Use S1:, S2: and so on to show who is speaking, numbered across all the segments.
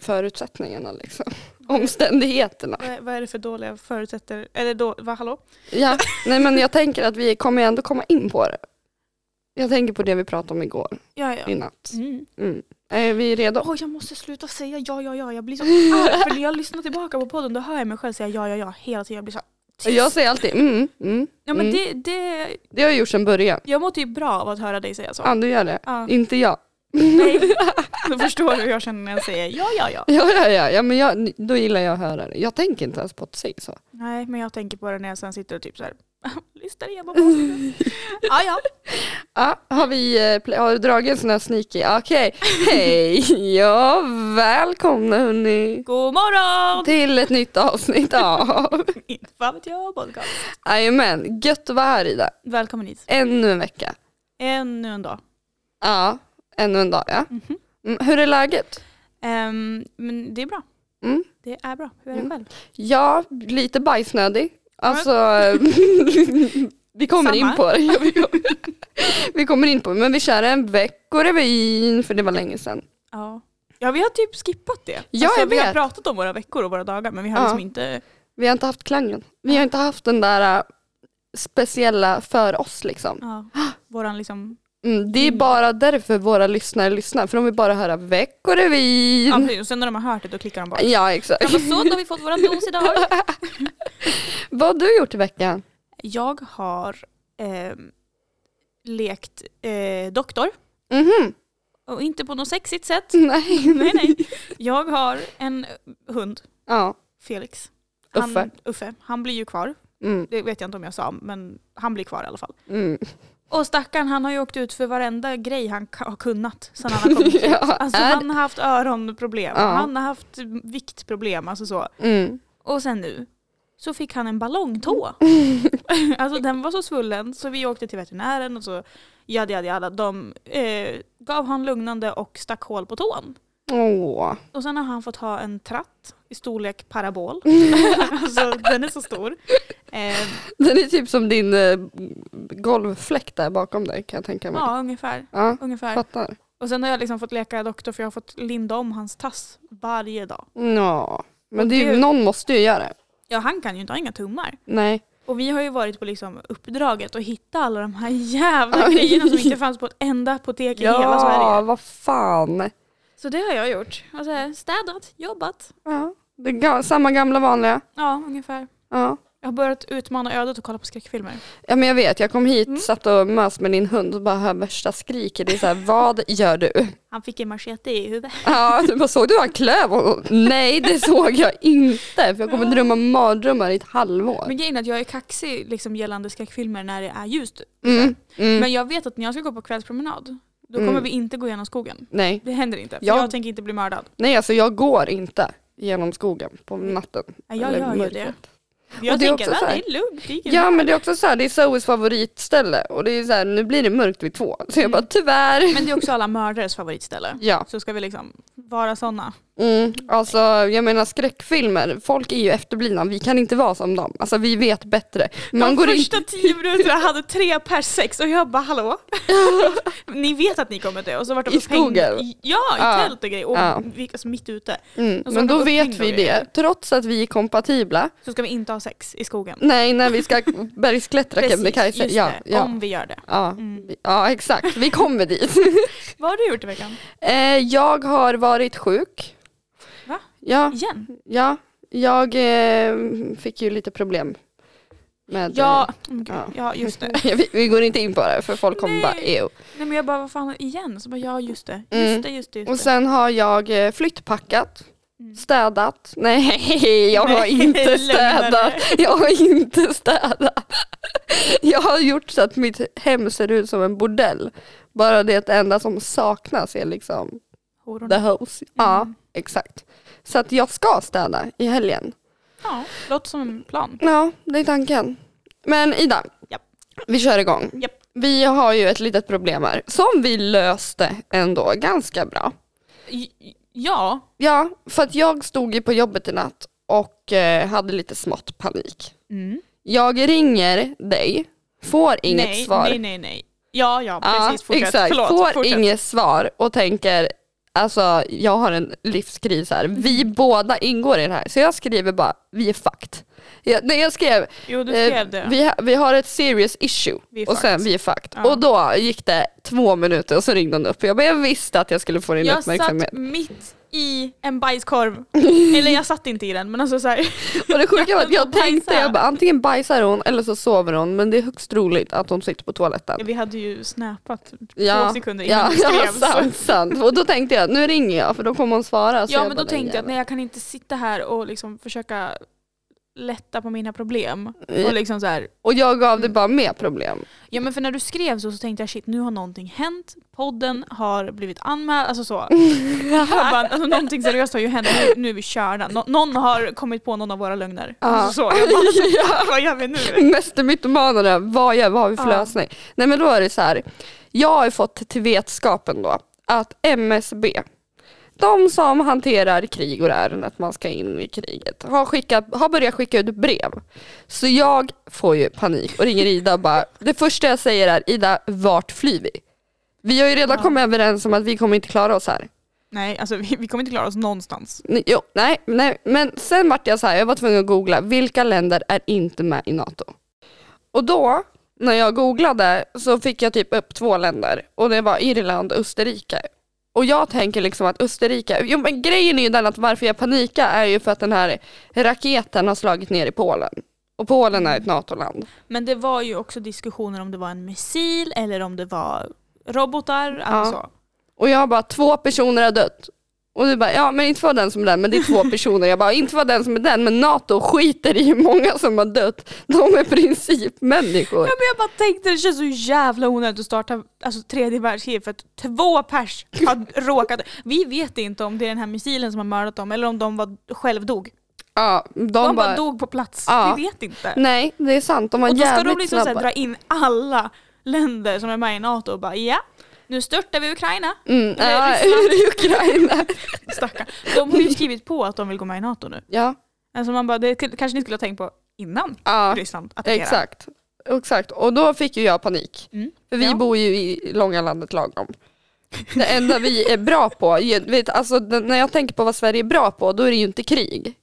S1: förutsättningarna liksom. Omständigheterna.
S2: Vad är, vad är det för dåliga förutsättningar? Eller då, vad, hallå?
S1: Ja, nej men jag tänker att vi kommer ändå komma in på det. Jag tänker på det vi pratade om igår,
S2: Ja, ja.
S1: i natt.
S2: Mm.
S1: Mm. Är vi redo?
S2: Åh, jag måste sluta säga ja, ja, ja. Jag blir så arg. För när jag lyssnar tillbaka på podden då hör jag mig själv säga ja, ja, ja hela tiden. Jag blir så
S1: Och jag säger alltid mm, mm,
S2: Ja, men
S1: mm.
S2: det, det,
S1: Det har jag gjort sedan början.
S2: jag mår typ bra av att höra dig säga så.
S1: Ja, du gör det.
S2: Ja.
S1: Inte jag.
S2: Nej. Då förstår du hur jag känner när jag säger ja, ja, ja.
S1: Ja, ja, ja. ja men jag, då gillar jag att höra det. Jag tänker inte ens på att säga så.
S2: Nej, men jag tänker på det när jag sen sitter och typ så här lyssnar igenom podden. Ja, ja.
S1: Ja, har, vi, eh, pl- har du dragit en sån här sneaky? Okej, hej, ja välkomna hörni
S2: God morgon!
S1: till ett nytt avsnitt av
S2: Inte fan vet jag, podcast.
S1: Jajamän, gött att vara här Ida.
S2: Välkommen hit.
S1: Ännu en vecka.
S2: Ännu en dag.
S1: Ja, ännu en dag ja.
S2: Mhm.
S1: Mm, hur är läget?
S2: Ehm, men det är bra.
S1: Mm.
S2: Det är bra. Hur är det
S1: Mm.
S2: själv?
S1: Ja, lite bajsnödig. Alltså, vi kommer
S2: Samma.
S1: in på det. Ja, vi, kommer, vi kommer in på det, men vi kör en veckorevyn för det var länge sedan.
S2: Ja. ja, vi har typ skippat det.
S1: Ja, jag
S2: Vi har
S1: vet.
S2: pratat om våra veckor och våra dagar men vi har
S1: Ja.
S2: liksom inte...
S1: Vi har inte haft klangen. Vi har inte haft den där äh, speciella för oss liksom.
S2: Ja, våran liksom...
S1: Mm, det är
S2: Mm.
S1: bara därför våra lyssnare lyssnar, för de vill bara höra
S2: Ja,
S1: veckorevyn.
S2: precis. Och sen när de har hört det då klickar de bara.
S1: Ja, exakt.
S2: Ja, men så, då har vi fått våran dos idag.
S1: Vad har du gjort i veckan?
S2: Jag har ehm, lekt eh, doktor
S1: Mhm,
S2: och inte på något sexigt sätt.
S1: nej.
S2: Nej, nej. Jag har en hund,
S1: Ja,
S2: Felix.
S1: Uffe.
S2: Uffe. Han blir ju kvar.
S1: mm,
S2: Det vet jag inte om jag sa, men han blir kvar i alla fall.
S1: mm.
S2: Och stackarn, han har ju åkt ut för varenda grej han ka- har kunnat sen han har kommit hit.
S1: Ja,
S2: Alltså
S1: är-
S2: han har haft öronproblem,
S1: Ja.
S2: han har haft viktproblem, alltså så.
S1: Mm.
S2: Och sen nu så fick han en ballongtå.
S1: Mm.
S2: alltså den var så svullen så vi åkte till veterinären och så jada jada jada. De eh, gav han lugnande och stack hål på tån.
S1: Åh.
S2: Och sen har han fått ha en tratt i storlek parabol. alltså den är så stor. Eh,
S1: Den är typ som din eh, golvfläkt där bakom dig kan jag tänka mig.
S2: ja ungefär.
S1: Ja,
S2: ungefär.
S1: fattar.
S2: Och sen har jag liksom fått leka doktor för jag har fått linda om hans tass varje dag.
S1: Ja, men det är ju,
S2: Gud.
S1: någon måste ju göra det.
S2: Ja han kan ju inte ha inga tummar.
S1: Nej.
S2: Och vi har ju varit på liksom uppdraget att hitta alla de här jävla
S1: Aj.
S2: grejerna som inte fanns på ett enda apotek i hela Sverige.
S1: vad fan.
S2: Så det har jag gjort. Alltså, städat, jobbat.
S1: Ja, det är ga- samma gamla vanliga.
S2: Ja, ungefär.
S1: Ja.
S2: Jag har börjat utmana ödet och kolla på skräckfilmer.
S1: ja, men jag vet. Jag kom hit,
S2: Mm.
S1: satt och mös med din hund och bara hör värsta skriket. Det är så här, vad gör du?
S2: Han fick en machete i huvudet.
S1: Ja, du bara, såg du han klöv honom? Nej, det såg jag inte. För jag kommer drömma mardrömmar i ett halvår.
S2: Men grejen är att jag är kaxig liksom, gällande skräckfilmer när det är ljust.
S1: Mm, mm.
S2: Men jag vet att när jag ska gå på kvällspromenad, då kommer
S1: Mm.
S2: vi inte gå igenom skogen.
S1: Nej.
S2: Det händer inte, för
S1: Jag-
S2: jag, tänker inte bli mördad.
S1: Nej, alltså jag går inte genom skogen på natten.
S2: Nej, jag
S1: eller
S2: gör ju det.
S1: mörkret.
S2: Jag
S1: det är
S2: tänker
S1: också
S2: att
S1: så här-
S2: det är lugnt. Det är ingen
S1: Ja
S2: fara."
S1: men det är också så här, det är Zoes favoritställe och det är så här, nu blir det mörkt vid två. Så
S2: Mm.
S1: jag bara tyvärr.
S2: men det är också alla mördares favoritställe.
S1: Ja,
S2: Så ska vi liksom vara sådana.
S1: mm, alltså jag menar skräckfilmer, folk är ju efterblivna, vi kan inte vara som dem. Alltså vi vet bättre. Man
S2: De
S1: går
S2: första tio minuterna hade tre per sex och jag bara hallå? ni vet att ni kommer dö. Och så vart de
S1: I skogen?
S2: upphängda i- Ja, i
S1: Ja.
S2: tält och grejer. Och
S1: Ja.
S2: vi, alltså mitt ute.
S1: in, mm,
S2: och så
S1: men
S2: har
S1: då
S2: Alltså, de
S1: vet
S2: upphängda
S1: vi det,
S2: grejer.
S1: trots att vi är kompatibla.
S2: Så ska vi inte ha sex i skogen.
S1: Nej, när vi ska bergsklättra Kebnekaise.
S2: just
S1: Ja,
S2: det.
S1: ja,
S2: Om vi gör det.
S1: ja,
S2: Mm.
S1: ja, exakt. Vi kommer dit.
S2: Vad har du gjort i veckan?
S1: Eh, jag har varit sjuk.
S2: Va?
S1: Ja,
S2: Igen?
S1: ja. Jag eh, fick ju lite problem med
S2: Ja, mm, gud.
S1: ja.
S2: ja just det.
S1: vi, vi går inte in på det för folk kommer
S2: Nej.
S1: bara EU.
S2: Nej men jag bara vad fan igen? Så bara ja just det. Just
S1: Mm.
S2: det, just det. Just
S1: Och
S2: det.
S1: sen har jag eh, flyttpackat,
S2: Mm.
S1: städat. Nej, jag har
S2: Nej,
S1: inte
S2: lögnare.
S1: städat. Jag har inte städat. Jag har gjort så att mitt hem ser ut som en bordell. Bara det att det enda som saknas är liksom the
S2: Hororna.
S1: house. Ja,
S2: Mm.
S1: exakt. Så att jag ska städa i helgen.
S2: Ja, låter som en plan.
S1: Ja, det är tanken. Men Ida,
S2: Japp.
S1: vi kör igång.
S2: Japp.
S1: Vi har ju ett litet problem här som vi löste ändå ganska bra.
S2: J- Ja,
S1: Ja, för att jag stod ju på jobbet i natt och eh, hade lite smått panik.
S2: mm.
S1: Jag ringer dig, får inget
S2: nej,
S1: svar.
S2: Nej nej nej. Ja ja precis,
S1: ja,
S2: fortsätt.
S1: exakt.
S2: Förlåt,
S1: får
S2: fortsätt.
S1: inget svar och tänker alltså jag har en livskris här. Vi
S2: Mm.
S1: båda ingår i det här. Så jag skriver bara, vi är fucked. Jag, nej, jag skrev,
S2: Jo, du
S1: eh,
S2: skrev det.
S1: vi, ha, vi har ett serious issue.
S2: Vi är
S1: och sen
S2: fucked.
S1: vi är fucked.
S2: Ja.
S1: Och då gick det två minuter och så ringde hon upp. Jag, bara, jag visste att jag skulle få din
S2: jag
S1: uppmärksamhet.
S2: satt mitt i en bajskorv. Eller jag satt inte i den, men alltså så här,
S1: Och det sjuka var att jag
S2: Hon bajsar.
S1: tänkte, jag bara, antingen bajsar hon eller så sover hon. Men det är högst troligt att hon sitter på toaletten.
S2: Vi hade ju snäpat
S1: Ja,
S2: två sekunder innan
S1: Ja,
S2: du skrev.
S1: ja
S2: så.
S1: sant, sant. Och då tänkte jag, nu ringer jag för då kommer hon svara. Så
S2: ja
S1: Alltså, jag
S2: men
S1: bara,
S2: då tänkte jag att
S1: nej.
S2: nej, jag kan inte sitta här och liksom försöka lätta på mina problem.
S1: jävla-
S2: Och liksom så här,
S1: Och jag gav det
S2: Mm.
S1: bara mer problem.
S2: ja men för när du skrev så, så tänkte jag shit nu har någonting hänt, podden har blivit anmäld, alltså så. Jag bara, alltså, någonting seriöst har ju hänt, nu, nu är vi körda. Nå- någon har kommit på någon av våra lögner.
S1: Ja.
S2: Alltså, så. Jag bara, alltså, fuck, vad gör vi nu?
S1: Mästermytomanerna, vad gör vad har vi för
S2: Ja.
S1: lösning? Nej men då är det så här, jag har ju fått till vetskapen då att MSB, de som hanterar krig och det här, att man ska in i kriget, har, skickat, har börjat skicka ut brev. Så jag får ju panik och ringer Ida och bara, det första jag säger är Ida, vart flyr vi? Vi har ju redan
S2: Ja.
S1: kommit överens om att vi kommer inte klara oss här.
S2: Nej alltså vi, vi kommer inte klara oss någonstans.
S1: Nej, Jo, nej, nej, men sen vart jag så här, jag var tvungen att googla, vilka länder är inte med i NATO? Och då, när jag googlade, så fick jag typ upp två länder och det var Irland och Österrike. Och jag tänker liksom att Österrike, jo men grejen är ju den att varför jag panikar är ju för att den här raketen har slagit ner i Polen. Och Polen är ett NATO-land.
S2: Men det var ju också diskussioner om det var en missil eller om det var robotar. Alltså.
S1: Och jag bara, två personer har dött. Och du bara, ja men inte var den som är den, men det är två personer. Jag bara, inte var den som är den, men NATO skiter i hur många som har dött. De är principmänniskor.
S2: Ja, men jag bara tänkte det känns så jävla onödigt att starta alltså, tredje världskriget för att två pers har råkat... Vi vet inte om det är den här missilen som har mördat dem eller om de var, själv dog.
S1: Ja, de,
S2: De, bara,
S1: bara,
S2: dog på plats.
S1: Ja.
S2: Vi vet inte.
S1: nej det är sant, de var
S2: och då ska de
S1: jävligt
S2: liksom så här,
S1: snabba.
S2: dra in alla länder som är med i NATO och bara ja, nu störtar vi Ukraina.
S1: Mm,
S2: Eller
S1: ja,
S2: Ryssland.
S1: i Ukraina.
S2: Stackarn. De har ju skrivit på att de vill gå med i NATO nu.
S1: Ja,
S2: Alltså man bara, det k- kanske ni skulle ha tänkt på innan
S1: ja
S2: Ryssland attackerar.
S1: exakt. Exakt, och då fick ju jag panik.
S2: Mm.
S1: För vi
S2: Ja.
S1: bor ju i långa landet lagom. Det enda vi är bra på, ju- vet, alltså, den- när jag tänker på vad Sverige är bra på, då är det ju inte krig.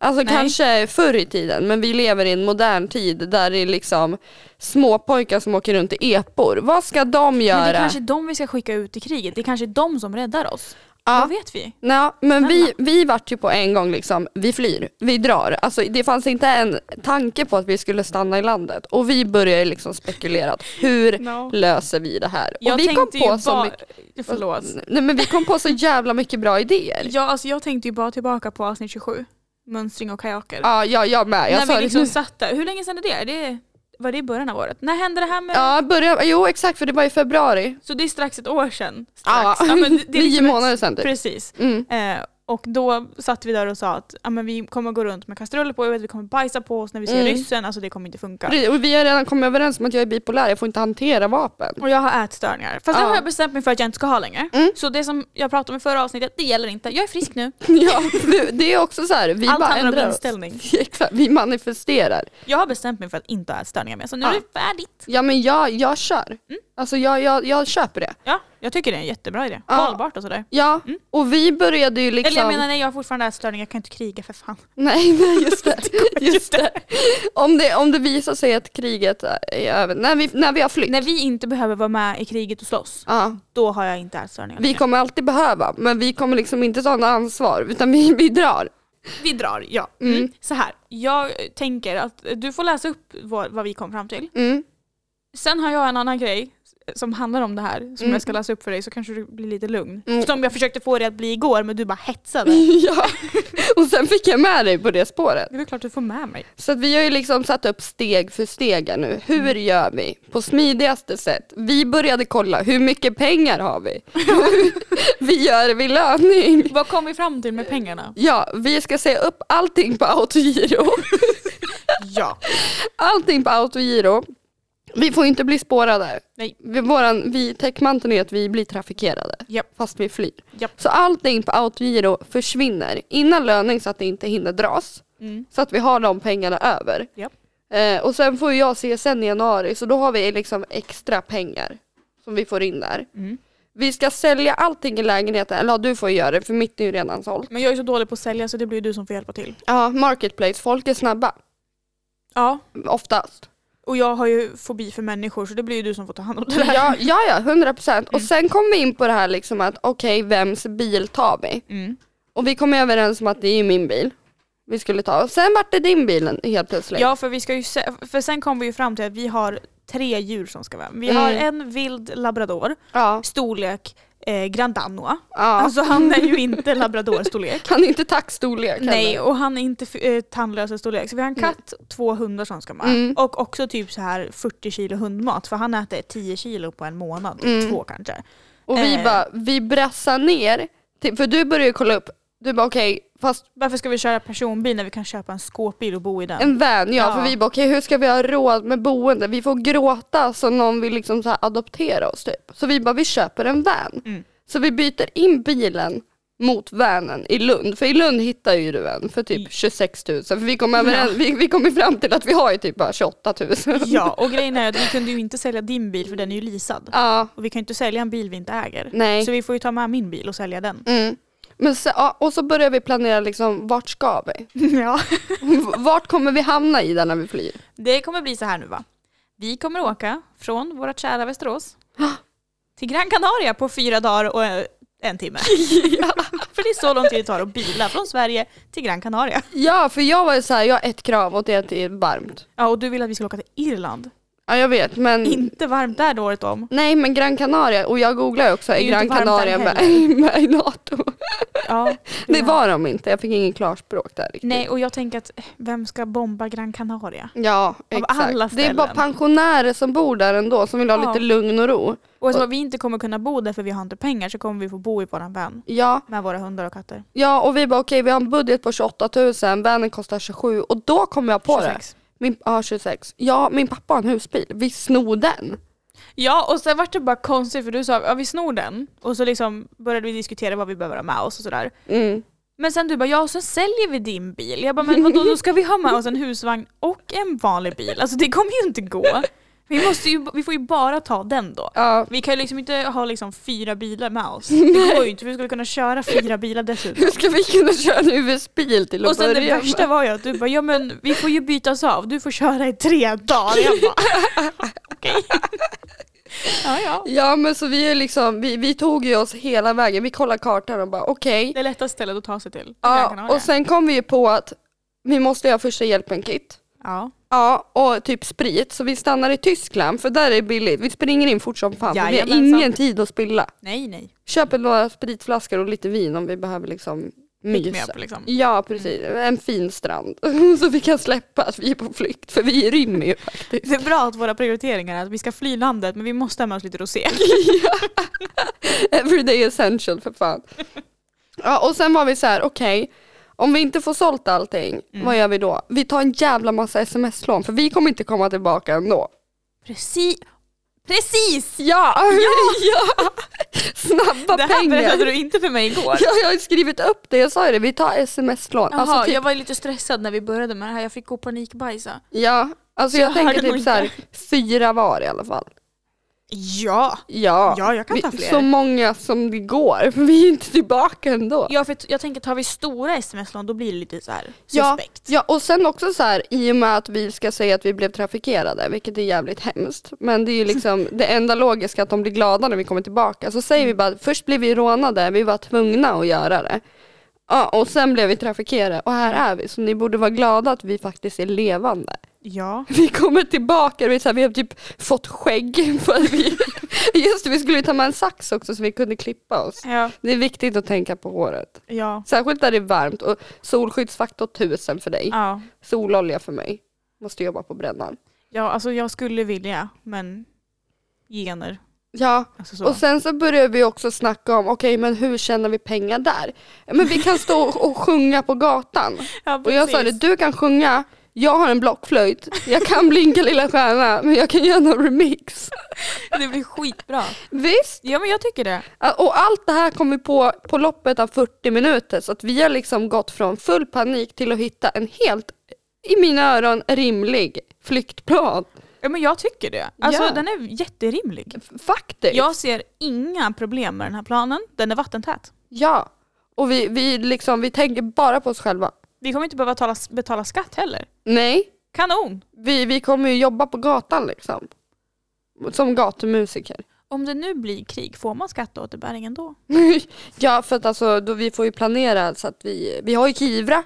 S1: Alltså
S2: Nej.
S1: kanske förr i tiden, men vi lever i en modern tid där det är liksom småpojkar som åker runt i epor. Vad ska de göra?
S2: Men det är kanske de vi ska skicka ut i kriget. Det är kanske de som räddar oss.
S1: Ja.
S2: Vad vet vi?
S1: Nå, men vi, vi vart ju på en gång liksom, vi flyr, vi drar. Alltså, det fanns inte en tanke på att vi skulle stanna i landet. Och vi började liksom spekulera, att hur
S2: No.
S1: löser vi det här?
S2: Jag
S1: och vi
S2: tänkte ju
S1: så
S2: bara...
S1: mycket-
S2: Förlåt.
S1: Nej, men vi kom på så jävla mycket bra idéer.
S2: Ja, alltså jag tänkte ju bara tillbaka på avsnitt 27. Mönstring och kajaker.
S1: Ja, ja jag med. Jag
S2: När
S1: sa
S2: vi
S1: det
S2: liksom
S1: nu.
S2: satt där. Hur länge sedan är det? det? Var det i början av året? När hände det här med...
S1: Ja, börja, jo exakt för det var i februari.
S2: Så det är strax ett år sedan.
S1: Ja,
S2: Strax. Ja, men det, det är
S1: nio
S2: liksom ett-
S1: månader sedan typ.
S2: Precis.
S1: Mm.
S2: Eh, och då satt vi där och sa att ja, men vi kommer gå runt med kastruller på huvudet, vi kommer bajsa på oss när vi ser
S1: Mm.
S2: ryssen, alltså det kommer inte funka.
S1: Pre- Och vi har redan kommit överens om att jag är bipolär, jag får inte hantera vapen.
S2: Och jag har ätstörningar. Fast det
S1: Ja.
S2: har jag bestämt mig för att jag inte ska ha längre.
S1: Mm.
S2: Så det som jag pratade om i förra avsnittet, det gäller inte. Jag är frisk nu.
S1: Ja, det- det är också så här, vi
S2: Allt
S1: bara
S2: handlar om
S1: ändrar oss.
S2: inställning.
S1: Exakt, vi manifesterar.
S2: Jag har bestämt mig för att inte ha ätstörningar mer, så nu
S1: Ja.
S2: är det färdigt.
S1: Ja men jag, jag kör.
S2: Mm.
S1: Alltså jag, jag, jag köper det.
S2: Ja, jag tycker det är en jättebra idé.
S1: Ja.
S2: Hållbart och sådär.
S1: Ja, och vi började ju liksom...
S2: Mm. Eller jag menar, nej, jag har fortfarande ätstörningar, jag kan inte kriga för fan.
S1: Nej, nej just det. Just det. Om, det om det visar sig att kriget är över, när vi, när vi har flytt.
S2: När vi inte behöver vara med i kriget och slåss,
S1: Ja,
S2: då har jag inte ätstörningar
S1: vi
S2: längre.
S1: kommer alltid behöva, men vi kommer liksom inte ta något ansvar utan vi, vi drar.
S2: Vi drar, ja.
S1: Mm.
S2: Mm. Så här, jag tänker att du får läsa upp vad, vad vi kom fram till.
S1: Mm.
S2: Sen har jag en annan grej som handlar om det här som
S1: Mm.
S2: jag ska läsa upp för dig så kanske du blir lite lugn.
S1: Mm.
S2: Som jag försökte få dig att bli igår men du bara hetsade.
S1: Ja. Och sen fick jag med dig på det spåret.
S2: Det är väl klart du får med mig.
S1: Så att vi har ju liksom satt upp steg för steg här nu. Hur gör vi på smidigaste sätt? Vi började kolla, hur mycket pengar har vi? vi gör det vid löning.
S2: Vad kom vi fram till med pengarna?
S1: Ja, vi ska säga upp allting på autogiro.
S2: Ja.
S1: Allting på autogiro. Vi får inte bli spårade.
S2: Nej.
S1: Vi, våran, vi, täckmanteln är att vi blir trafikerade
S2: Japp.
S1: fast vi flyr.
S2: Japp.
S1: Så allting på autogiro försvinner innan löning så att det inte hinner dras.
S2: Mm.
S1: Så att vi har de pengarna över.
S2: Japp.
S1: Eh, och sen får ju jag CSN i januari så då har vi liksom extra pengar som vi får in där.
S2: Mm.
S1: Vi ska sälja allting i lägenheten, eller ja, du får göra det för mitt är ju redan sålt.
S2: Men jag är så dålig på att sälja så det blir ju du som får hjälpa till.
S1: Ja, marketplace, folk är snabba.
S2: Ja,
S1: Oftast.
S2: och jag har ju fobi för människor så det blir ju du som får ta hand om det där.
S1: Ja, ja, ja 100 procent.
S2: Mm.
S1: Och sen kom vi in på det här liksom att okej, vems bil tar vi?
S2: Mm.
S1: Och vi kom överens om att det är ju min bil vi skulle ta. Och sen vart det din bil helt plötsligt.
S2: Ja, för, vi ska ju se, för sen kom vi ju fram till att vi har tre djur som ska vara med. Vi
S1: Mm.
S2: har en vild labrador,
S1: Ja.
S2: storlek eh, Grand Danois.
S1: ja.
S2: Alltså han är ju inte labradorstorlek.
S1: Han är inte taxstorlek
S2: Nej,
S1: heller.
S2: och han är inte eh, tandlösestorlek. Så vi har en katt, två hundar som ska med.
S1: Mm.
S2: Och också typ så här 40 kilo hundmat för han äter 10 kilo på en månad, typ
S1: Mm.
S2: två kanske.
S1: Och vi
S2: Eh.
S1: bara, vi brassar ner. Till, för du började ju kolla upp, du bara okej, fast
S2: Varför ska vi köra personbil när vi kan köpa en skåpbil och bo i den?
S1: en van, ja,
S2: Ja.
S1: För vi bara okej hur ska vi ha råd med boende? Vi får gråta så någon vill liksom så här adoptera oss typ. Så vi bara, vi köper en van.
S2: Mm.
S1: Så vi byter in bilen mot vanen i Lund. För i Lund hittar ju du en för typ 26 000. För vi kom, överens, vi, vi kom ju fram till att vi har ju typ bara 28 000.
S2: Ja, och grejen är att vi kunde ju inte sälja din bil för den är ju leasad.
S1: Ja,
S2: Och vi kan ju inte sälja en bil vi inte äger.
S1: nej.
S2: Så vi får ju ta med min bil och sälja den.
S1: Mm. Men se, ja, och så börjar vi planera liksom, vart ska vi?
S2: Ja.
S1: Vart kommer vi hamna i den när vi flyr?
S2: Det kommer bli så här nu va? Vi kommer åka från vårt kära Västerås till Gran Canaria på fyra dagar och eh, en timme. För det är så lång tid det tar att bila från Sverige till Gran Canaria.
S1: Ja, för jag var ju såhär, jag har ett krav och det är att det är varmt.
S2: Ja, och du vill att vi ska åka till Irland.
S1: Ja, jag vet, men...
S2: Inte varmt där då året om.
S1: Nej, men Gran Canaria, och jag googlar ju också,
S2: Det är
S1: är
S2: ju inte
S1: Gran
S2: varmt
S1: Canaria
S2: där
S1: med, med i NATO?
S2: Ja,
S1: Det var de inte, jag fick ingen klarspråk där riktigt.
S2: Nej, och jag tänker att eh, vem ska bomba Gran Canaria?
S1: Ja, exakt.
S2: alla
S1: det är bara
S2: ställen.
S1: pensionärer som bor där ändå, som vill ha
S2: Ja.
S1: lite lugn och ro.
S2: Och eftersom vi inte kommer kunna bo där för vi har inte pengar så kommer vi få bo i våran van
S1: Ja,
S2: med våra hundar och katter.
S1: ja och vi bara okej, vi har en budget på 28 000, vanen kostar 27 och då kom jag på det.
S2: 26.
S1: Min, ja, 26. Ja, min pappa har en husbil. Vi snor den.
S2: Ja, och sen vart det bara konstigt för du sa ja, vi snor den och så liksom började vi diskutera vad vi behöver ha med oss och sådär. Men sen du bara ja, och sen säljer vi din bil. Jag bara men vadå, då ska vi ha med oss en husvagn och en vanlig bil. Alltså det kommer ju inte gå. Vi, måste ju, vi får ju bara ta den då.
S1: Ja.
S2: Vi kan ju liksom inte ha liksom fyra bilar med oss. Det går ju inte, för vi skulle kunna köra fyra bilar dessutom.
S1: Hur ska vi kunna köra en UV-bil till att
S2: Och sen det
S1: börja
S2: värsta
S1: med?
S2: var ju att du bara ja men vi får ju bytas av, du får köra i tre dagar. Jag bara okej. Ja ja.
S1: Ja men så vi, är liksom, vi, vi tog ju oss hela vägen, vi kollade kartan och bara okej.
S2: Det lättaste stället att ta sig till.
S1: Ja, och sen kom vi ju på att vi måste ha första hjälpen-kit.
S2: ja.
S1: Ja och typ sprit, så vi stannar i Tyskland för där är det billigt. Vi springer in fort som fan för vi har
S2: Jajamensan.
S1: ingen tid att spilla.
S2: Nej, nej.
S1: Köper några spritflaskor och lite vin om vi behöver liksom
S2: Pick me
S1: mysa. Mm.
S2: up, liksom.
S1: Ja precis, en fin strand. Så vi kan släppa att vi är på flykt för vi rymmer ju faktiskt.
S2: Det är bra att våra prioriteringar är att vi ska fly landet men vi måste ha med oss lite rosé.
S1: Everyday essential för fan. Ja, och sen var vi så här: okej, om vi inte får sålt allting,
S2: Mm.
S1: vad gör vi då? Vi tar en jävla massa sms-lån för vi kommer inte komma tillbaka ändå.
S2: Precis! Precis!
S1: Ja! ja. Snabba
S2: Det här
S1: pengar.
S2: berättade du inte för mig igår.
S1: Ja, jag har ju skrivit upp det, jag sa ju det, vi tar sms-lån.
S2: Jaha,
S1: Alltså, typ,
S2: jag var ju lite stressad när vi började med det här. Jag fick gå panikbajsa.
S1: Ja, alltså jag,
S2: Jag hörde
S1: tänker
S2: nog
S1: typ så här, fyra var i alla fall.
S2: Ja!
S1: Ja,
S2: Ja, jag kan ta
S1: vi,
S2: fler.
S1: så många som det går, för vi är inte tillbaka ändå.
S2: Ja, för t- jag tänker tar vi stora sms-lån då blir det lite så här
S1: Ja,
S2: suspekt.
S1: ja, och sen också så här, i och med att vi ska säga att vi blev trafikerade, vilket är jävligt hemskt. Men det är ju liksom det enda logiska att de blir glada när vi kommer tillbaka. Så säger vi bara, att först blev vi rånade, vi var tvungna att göra det. Ja, och sen blev vi trafikerade och här är vi. Så ni borde vara glada att vi faktiskt är levande.
S2: Ja.
S1: Vi kommer tillbaka och vi, är så här, vi har typ fått skägg. För att vi, just det, vi skulle ju ta med en sax också så vi kunde klippa oss.
S2: Ja.
S1: Det är viktigt att tänka på håret.
S2: Ja.
S1: Särskilt när det är varmt och solskyddsfaktor 1000 för dig.
S2: ja.
S1: Sololja för mig. Måste jobba på brännan.
S2: Ja, alltså jag skulle vilja, men gener.
S1: Ja,
S2: Alltså så.
S1: och sen så börjar vi också snacka om, okej men hur tjänar vi pengar där? Men vi kan stå och sjunga på gatan.
S2: ja,
S1: Och jag sa det,
S2: precis.
S1: du kan sjunga, jag har en blockflöjt, jag kan blinka lilla stjärna, men jag kan göra någon remix.
S2: det blir skitbra.
S1: Visst?
S2: Ja, men jag tycker det.
S1: Och allt det här kom vi på på loppet av 40 minuter, så att vi har liksom gått från full panik till att hitta en helt, i mina öron, rimlig flyktplan.
S2: Ja men jag tycker det. Alltså
S1: Ja.
S2: den är jätterimlig.
S1: F- Faktiskt.
S2: Jag ser inga problem med den här planen. Den är vattentät.
S1: Ja. Och vi, vi, liksom, vi tänker bara på oss själva.
S2: Vi kommer inte behöva betala, betala skatt heller.
S1: Nej,
S2: Kanon!
S1: vi, vi kommer ju jobba på gatan liksom. Som gatumusiker.
S2: Om det nu blir krig, får man skatteåterbäring ändå?
S1: ja, för att alltså, då vi får ju planera så att vi, vi har ju Kivra.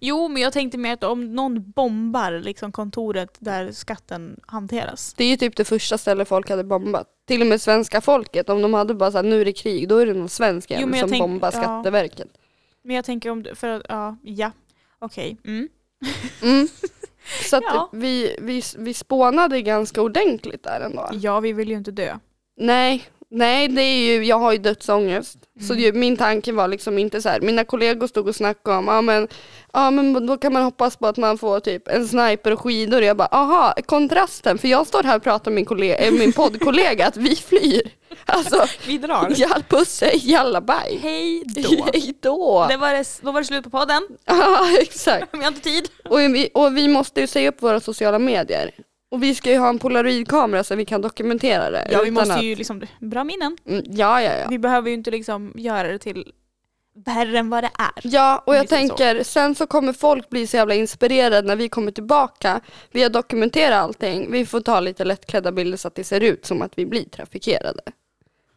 S2: Jo, men jag tänkte mer att om någon bombar liksom kontoret där skatten hanteras.
S1: Det är ju typ det första stället folk hade bombat. Till och med svenska folket, om de hade bara såhär nu är det krig, då är det någon svensk
S2: Jo,
S1: jävel
S2: men jag
S1: som
S2: tänk-
S1: bombar
S2: ja.
S1: Skatteverket.
S2: Men jag tänker om du, för att, ja, ja. Okej. Mm.
S1: Mm. Så att
S2: Ja.
S1: vi, vi, vi spånade ganska ordentligt där ändå.
S2: Ja, vi vill ju inte dö.
S1: Nej, nej det är ju, jag har ju dödsångest. Så
S2: Mm.
S1: ju, min tanke var liksom inte så här, mina kollegor stod och snackade om, ja ah, men, ah, men då kan man hoppas på att man får typ en sniper och skidor. Och jag bara, aha, kontrasten, för jag står här och pratar med min, kollega, eh, min poddkollega att vi flyr. Alltså,
S2: Vi drar.
S1: jall puss, hej, jallabaj.
S2: Hej då.
S1: Hej då!
S2: Det var det, då var det slut på podden.
S1: Ja, exakt.
S2: Vi har inte tid.
S1: Och vi, och vi måste ju säga upp våra sociala medier. Och vi ska ju ha en polaroidkamera så vi kan dokumentera det.
S2: Ja, vi
S1: utan
S2: måste
S1: att-
S2: ju liksom, bra minnen.
S1: Mm, Ja, ja, ja.
S2: Vi behöver ju inte liksom göra det till värre än vad det är.
S1: Ja, och jag
S2: Lite så.
S1: tänker sen så kommer folk bli så jävla inspirerade när vi kommer tillbaka. Vi har dokumenterat allting. Vi får ta lite lättklädda bilder så att det ser ut som att vi blir trafikerade.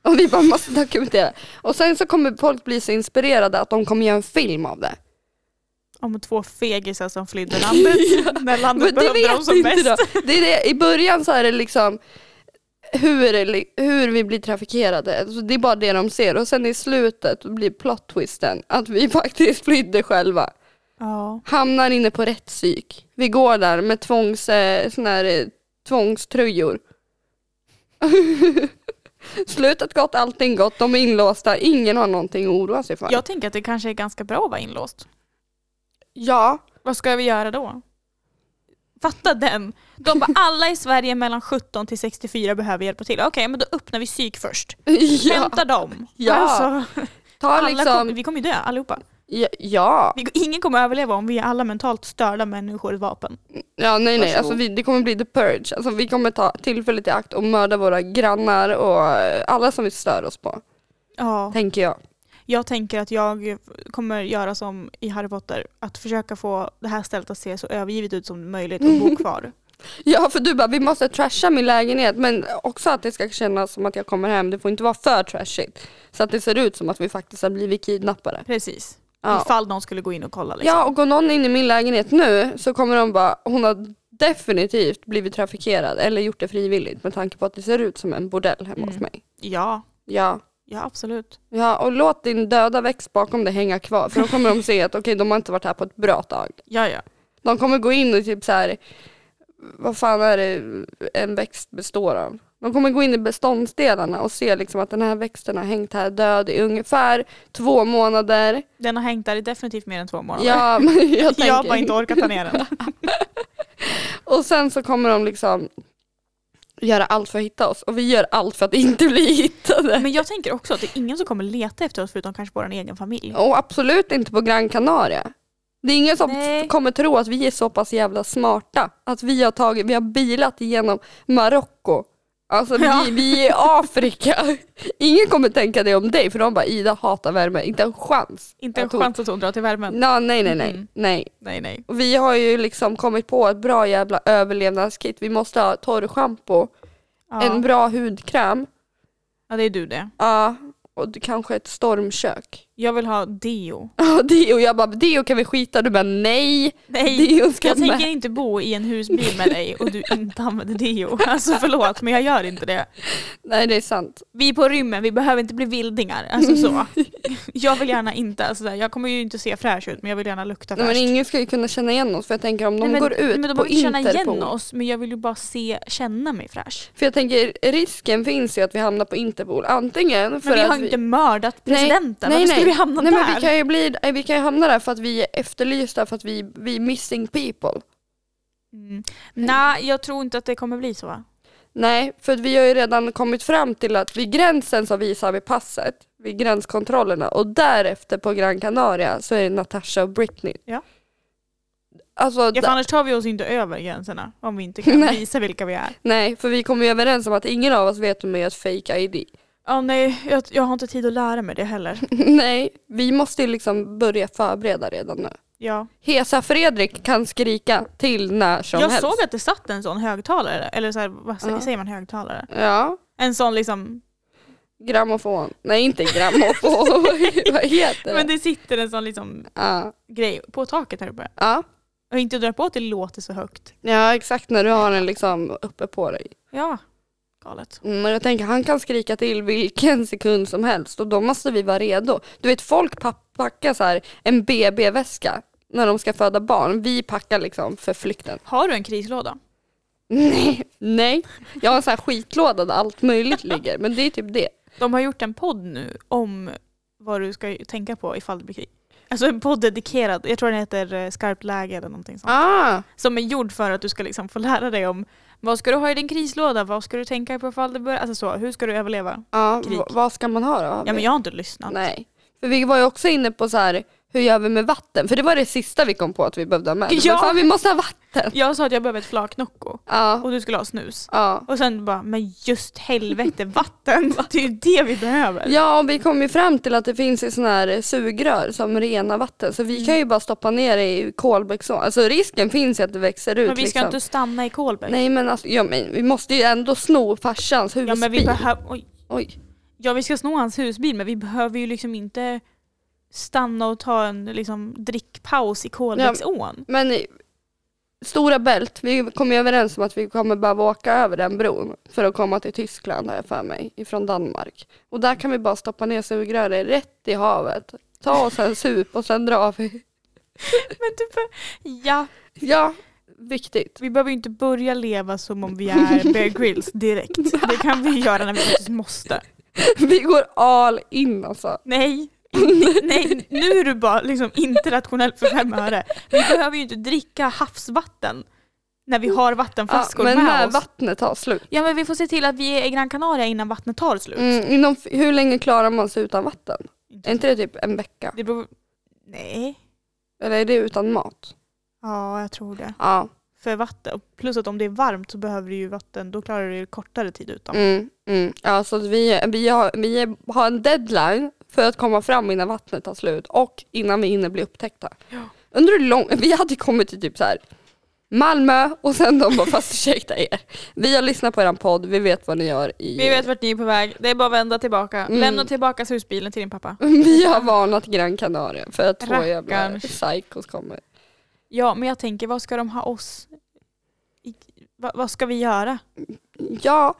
S1: Och vi bara måste dokumentera. Och sen så kommer folk bli så inspirerade att de kommer göra en film av det.
S2: Om två fegisar som flydde landet när
S1: Men
S2: landet
S1: det
S2: behövde dem
S1: vet
S2: som
S1: inte
S2: bäst.
S1: då. Det är det. I början så är det liksom hur, hur vi blir trafikerade. Alltså det är bara det de ser. Och sen i slutet blir plot twisten att vi faktiskt flydde själva.
S2: Ja.
S1: Hamnar inne på rätt psyk. Vi går där med tvångs, eh, sån här, eh, tvångströjor. Slutet gott, allting gott. De är inlåsta. Ingen har någonting att oroa sig för.
S2: Jag tänker att det kanske är ganska bra att vara inlåst.
S1: Ja.
S2: Vad ska vi göra då? Fatta den! De bara alla i Sverige mellan 17 till 64 behöver hjälpa till. Okej, men då öppnar vi psyk först.
S1: ja.
S2: Hämta dem.
S1: Ja.
S2: Alltså,
S1: Ta
S2: alla
S1: liksom...
S2: kom, vi kommer ju dö allihopa.
S1: Ja, ja.
S2: Vi, ingen kommer överleva om vi är alla mentalt störda människor i vapen.
S1: Ja, nej nej.
S2: Varsågod.
S1: Alltså, vi, det kommer bli the purge. Alltså, vi kommer ta tillfället i akt och mörda våra grannar och eh, alla som vi stör oss på.
S2: Ja.
S1: Tänker jag.
S2: Jag tänker att jag kommer göra som i Harry Potter, att försöka få det här stället att se så övergivet ut som möjligt och bo kvar.
S1: Ja, för du bara, vi måste trasha min lägenhet. Men också att det ska kännas som att jag kommer hem. Det får inte vara för trashigt. Så att det ser ut som att vi faktiskt har blivit kidnappade.
S2: Precis.
S1: Ja,
S2: Ifall någon skulle gå in och kolla. Liksom.
S1: ja och går någon in i min lägenhet nu så kommer de bara, hon har definitivt blivit trafikerad eller gjort det frivilligt med tanke på att det ser ut som en bordell hemma hos
S2: Mm.
S1: mig.
S2: ja,
S1: Ja.
S2: ja absolut.
S1: ja, och låt din döda växt bakom dig hänga kvar. För då kommer de se att okej, de har inte varit här på ett bra tag.
S2: Ja, ja.
S1: De kommer gå in och typ så här, vad fan är det en växt består av? De kommer gå in i beståndsdelarna och se liksom att den här växten har hängt här död i ungefär två månader.
S2: Den har hängt där i definitivt mer än två månader.
S1: Ja, men jag
S2: jag har
S1: tänker.
S2: bara inte orkat ta ner den.
S1: Och sen så kommer de liksom göra allt för att hitta oss och vi gör allt för att inte bli hittade.
S2: Men jag tänker också att det är ingen som kommer leta efter oss förutom kanske vår egen familj.
S1: Och absolut inte på Gran Canaria. Det är ingen som
S2: Nej.
S1: kommer tro att vi är så pass jävla smarta att vi har, tagit, vi har bilat igenom Marocko. Alltså vi,
S2: Ja.
S1: vi är i Afrika. Ingen kommer tänka det om dig för de bara Ida hatar värme, inte en chans.
S2: Inte en
S1: Jag tror-
S2: chans att hon drar till värmen.
S1: Nå, nej nej nej.
S2: Mm.
S1: nej.
S2: Nej, nej.
S1: Och vi har ju liksom kommit på ett bra jävla överlevnadskit. Vi måste ha torrschampo,
S2: Ja.
S1: en bra hudkräm,
S2: ja, det är du det.
S1: ja, och d- kanske ett stormkök.
S2: Jag vill ha deo.
S1: Ja, Deo, jag bara deo kan vi skita du bara nej.
S2: Nej,
S1: Deo ska
S2: Jag
S1: med.
S2: tänker inte bo i en husbil med dig och du inte använder deo. Alltså förlåt, men jag gör inte det.
S1: Nej det är sant.
S2: Vi är på rymmen, vi behöver inte bli vildingar. Alltså så. Jag vill gärna inte, alltså, där, jag kommer ju inte se fräsch ut men jag vill gärna lukta
S1: Nej,
S2: fräscht.
S1: men ingen ska ju kunna känna igen oss för jag tänker om de
S2: Nej, men-
S1: går ut
S2: nej, men de
S1: på
S2: behöver inte känna igen
S1: Interpol.
S2: oss men jag vill ju bara se, känna mig fräsch.
S1: För jag tänker risken finns ju att vi hamnar på Interpol antingen för
S2: Men vi
S1: att
S2: har ju inte mördat
S1: Nej,
S2: presidenten, varför skulle vi hamna
S1: nej,
S2: där?
S1: Men vi, kan ju bli, eh, vi kan ju hamna där för att vi är efterlysta för att vi, vi är missing people.
S2: Mm. Nej, jag tror inte att det kommer bli så. va?
S1: Nej, för att vi har ju redan kommit fram till att vid gränsen så visar vi passet, vid gränskontrollerna och därefter på Gran Canaria så är det Natasha och Britney.
S2: Ja.
S1: Alltså,
S2: Ja,
S1: d-
S2: för annars tar vi oss inte över gränserna om vi inte kan
S1: Nej.
S2: visa vilka vi är.
S1: nej, för vi kom ju överens om att ingen av oss vet hur man gör ett fake ID.
S2: Ja, nej, jag, jag har inte tid att lära mig det heller.
S1: nej, vi måste ju liksom börja förbereda redan nu.
S2: Ja.
S1: Hesa Fredrik kan skrika till när som
S2: Jag
S1: helst.
S2: såg att det satt en sån högtalare, eller så här, vad sä-
S1: Ja.
S2: säger man högtalare?
S1: Ja,
S2: En sån liksom,
S1: grammofon. Nej, inte grammofon. Vad heter
S2: men
S1: det?
S2: det sitter en sån liksom
S1: Ja,
S2: grej på taket här uppe.
S1: ja.
S2: Och inte dra på att det låter så högt.
S1: ja, exakt när du har den liksom uppe på dig. Mm,
S2: Ja, galet.
S1: Men jag tänker han kan skrika till vilken sekund som helst och då måste vi vara redo. Du vet folk pa- packar så här en BB-väska när de ska föda barn. Vi packar liksom för flykten.
S2: Har du en krislåda?
S1: Nej, nej. Jag har en sån här skitlåda där allt möjligt ligger men det är typ det.
S2: De har gjort en podd nu om vad du ska tänka på ifall det blir krig. Alltså en podd dedikerad, jag tror den heter eh, Skarpt läge eller någonting sånt.
S1: Ah,
S2: Som är gjord för att du ska liksom få lära dig om vad ska du ha i din krislåda, vad ska du tänka på ifall det börjar, alltså så, hur ska du överleva?
S1: ja,
S2: Krig.
S1: v- vad ska man ha då? Har
S2: Ja
S1: vi-
S2: men jag har inte lyssnat.
S1: Nej. För vi var ju också inne på så här, hur gör vi med vatten? För det var det sista vi kom på att vi behövde ha med.
S2: Ja.
S1: Ja. Fan, vi måste ha vatten.
S2: Jag sa att jag behöver ett flak Nocco
S1: Ja,
S2: och du skulle ha snus.
S1: ja.
S2: Och sen bara, men just helvete, vatten! Det är ju det vi behöver.
S1: Ja, och vi kom ju fram till att det finns ju sådana här sugrör som renar vatten. Så vi kan ju bara stoppa ner det i Kolbäcksån. Alltså risken finns ju att det växer ut.
S2: men vi ska
S1: liksom.
S2: inte stanna i Kolberg.
S1: Nej men alltså, ja, men vi måste ju ändå sno farsans husbil.
S2: ja, men vi behöver, oj.
S1: Oj.
S2: ja vi ska sno hans husbil men vi behöver ju liksom inte stanna och ta en liksom, drickpaus i Kolbäcksån.
S1: Men eh, Stora Bält, vi kom ju överens om att vi kommer behöva åka över den bron för att komma till Tyskland har jag för mig, ifrån Danmark. Och där kan vi bara stoppa ner sugröret rätt i havet. Ta oss en sup och sen drar vi.
S2: Men typ, ja,
S1: Ja, viktigt.
S2: vi behöver ju inte börja leva som om vi är Bear Grylls direkt. Det kan vi göra när vi faktiskt måste.
S1: Vi går all in alltså.
S2: Nej, nej, nu är du bara liksom inte rationell för fem öre. Vi behöver ju inte dricka havsvatten när vi har
S1: Mm. Ja,
S2: vattenflaskor
S1: men
S2: med
S1: när
S2: oss.
S1: vattnet tar slut.
S2: ja men vi får se till att vi är i Gran Canaria innan vattnet tar slut.
S1: Mm, inom, f- hur länge klarar man sig utan vatten? Är inte det typ en vecka?
S2: Det beror... Nej.
S1: Eller är det utan mat?
S2: Ja, jag tror det.
S1: Ja.
S2: För vatten. Plus att om det är varmt så behöver du ju vatten, då klarar du ju kortare tid utan.
S1: Mm, mm. Ja, så att vi, vi, har, vi har en deadline för att komma fram innan vattnet tar slut och innan vi hinner bli upptäckta. Undrar hur lång, vi hade kommit till typ så här Malmö och sen de bara fast ursäkta er. Vi har lyssnat på er podd, vi vet vad ni gör i...
S2: Vi vet vart ni är på väg, det är bara att vända tillbaka.
S1: Mm.
S2: Lämna tillbaka husbilen till din pappa.
S1: vi har varnat Gran Canaria för att två jävla
S2: Rackarns.
S1: psykos kommer.
S2: Ja, men jag tänker vad ska de ha oss? I, va, vad ska vi göra?
S1: Ja,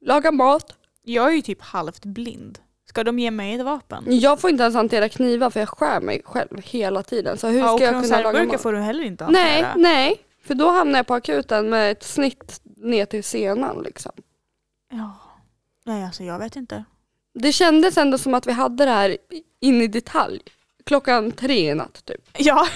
S1: laga mat.
S2: Jag är ju typ halvt blind. Ska de ge mig ett vapen?
S1: Jag får inte ens hantera knivar för jag skär mig själv hela tiden. Så hur
S2: Ja, och
S1: ska jag kunna laga
S2: konservburkar
S1: mat?
S2: får du heller inte
S1: Nej,
S2: hantera.
S1: nej. För då hamnar jag på akuten med ett snitt ner till senan liksom.
S2: Ja. Nej, alltså jag vet inte.
S1: Det kändes ändå som att vi hade det här in i detalj. Klockan tre i natt typ.
S2: Ja.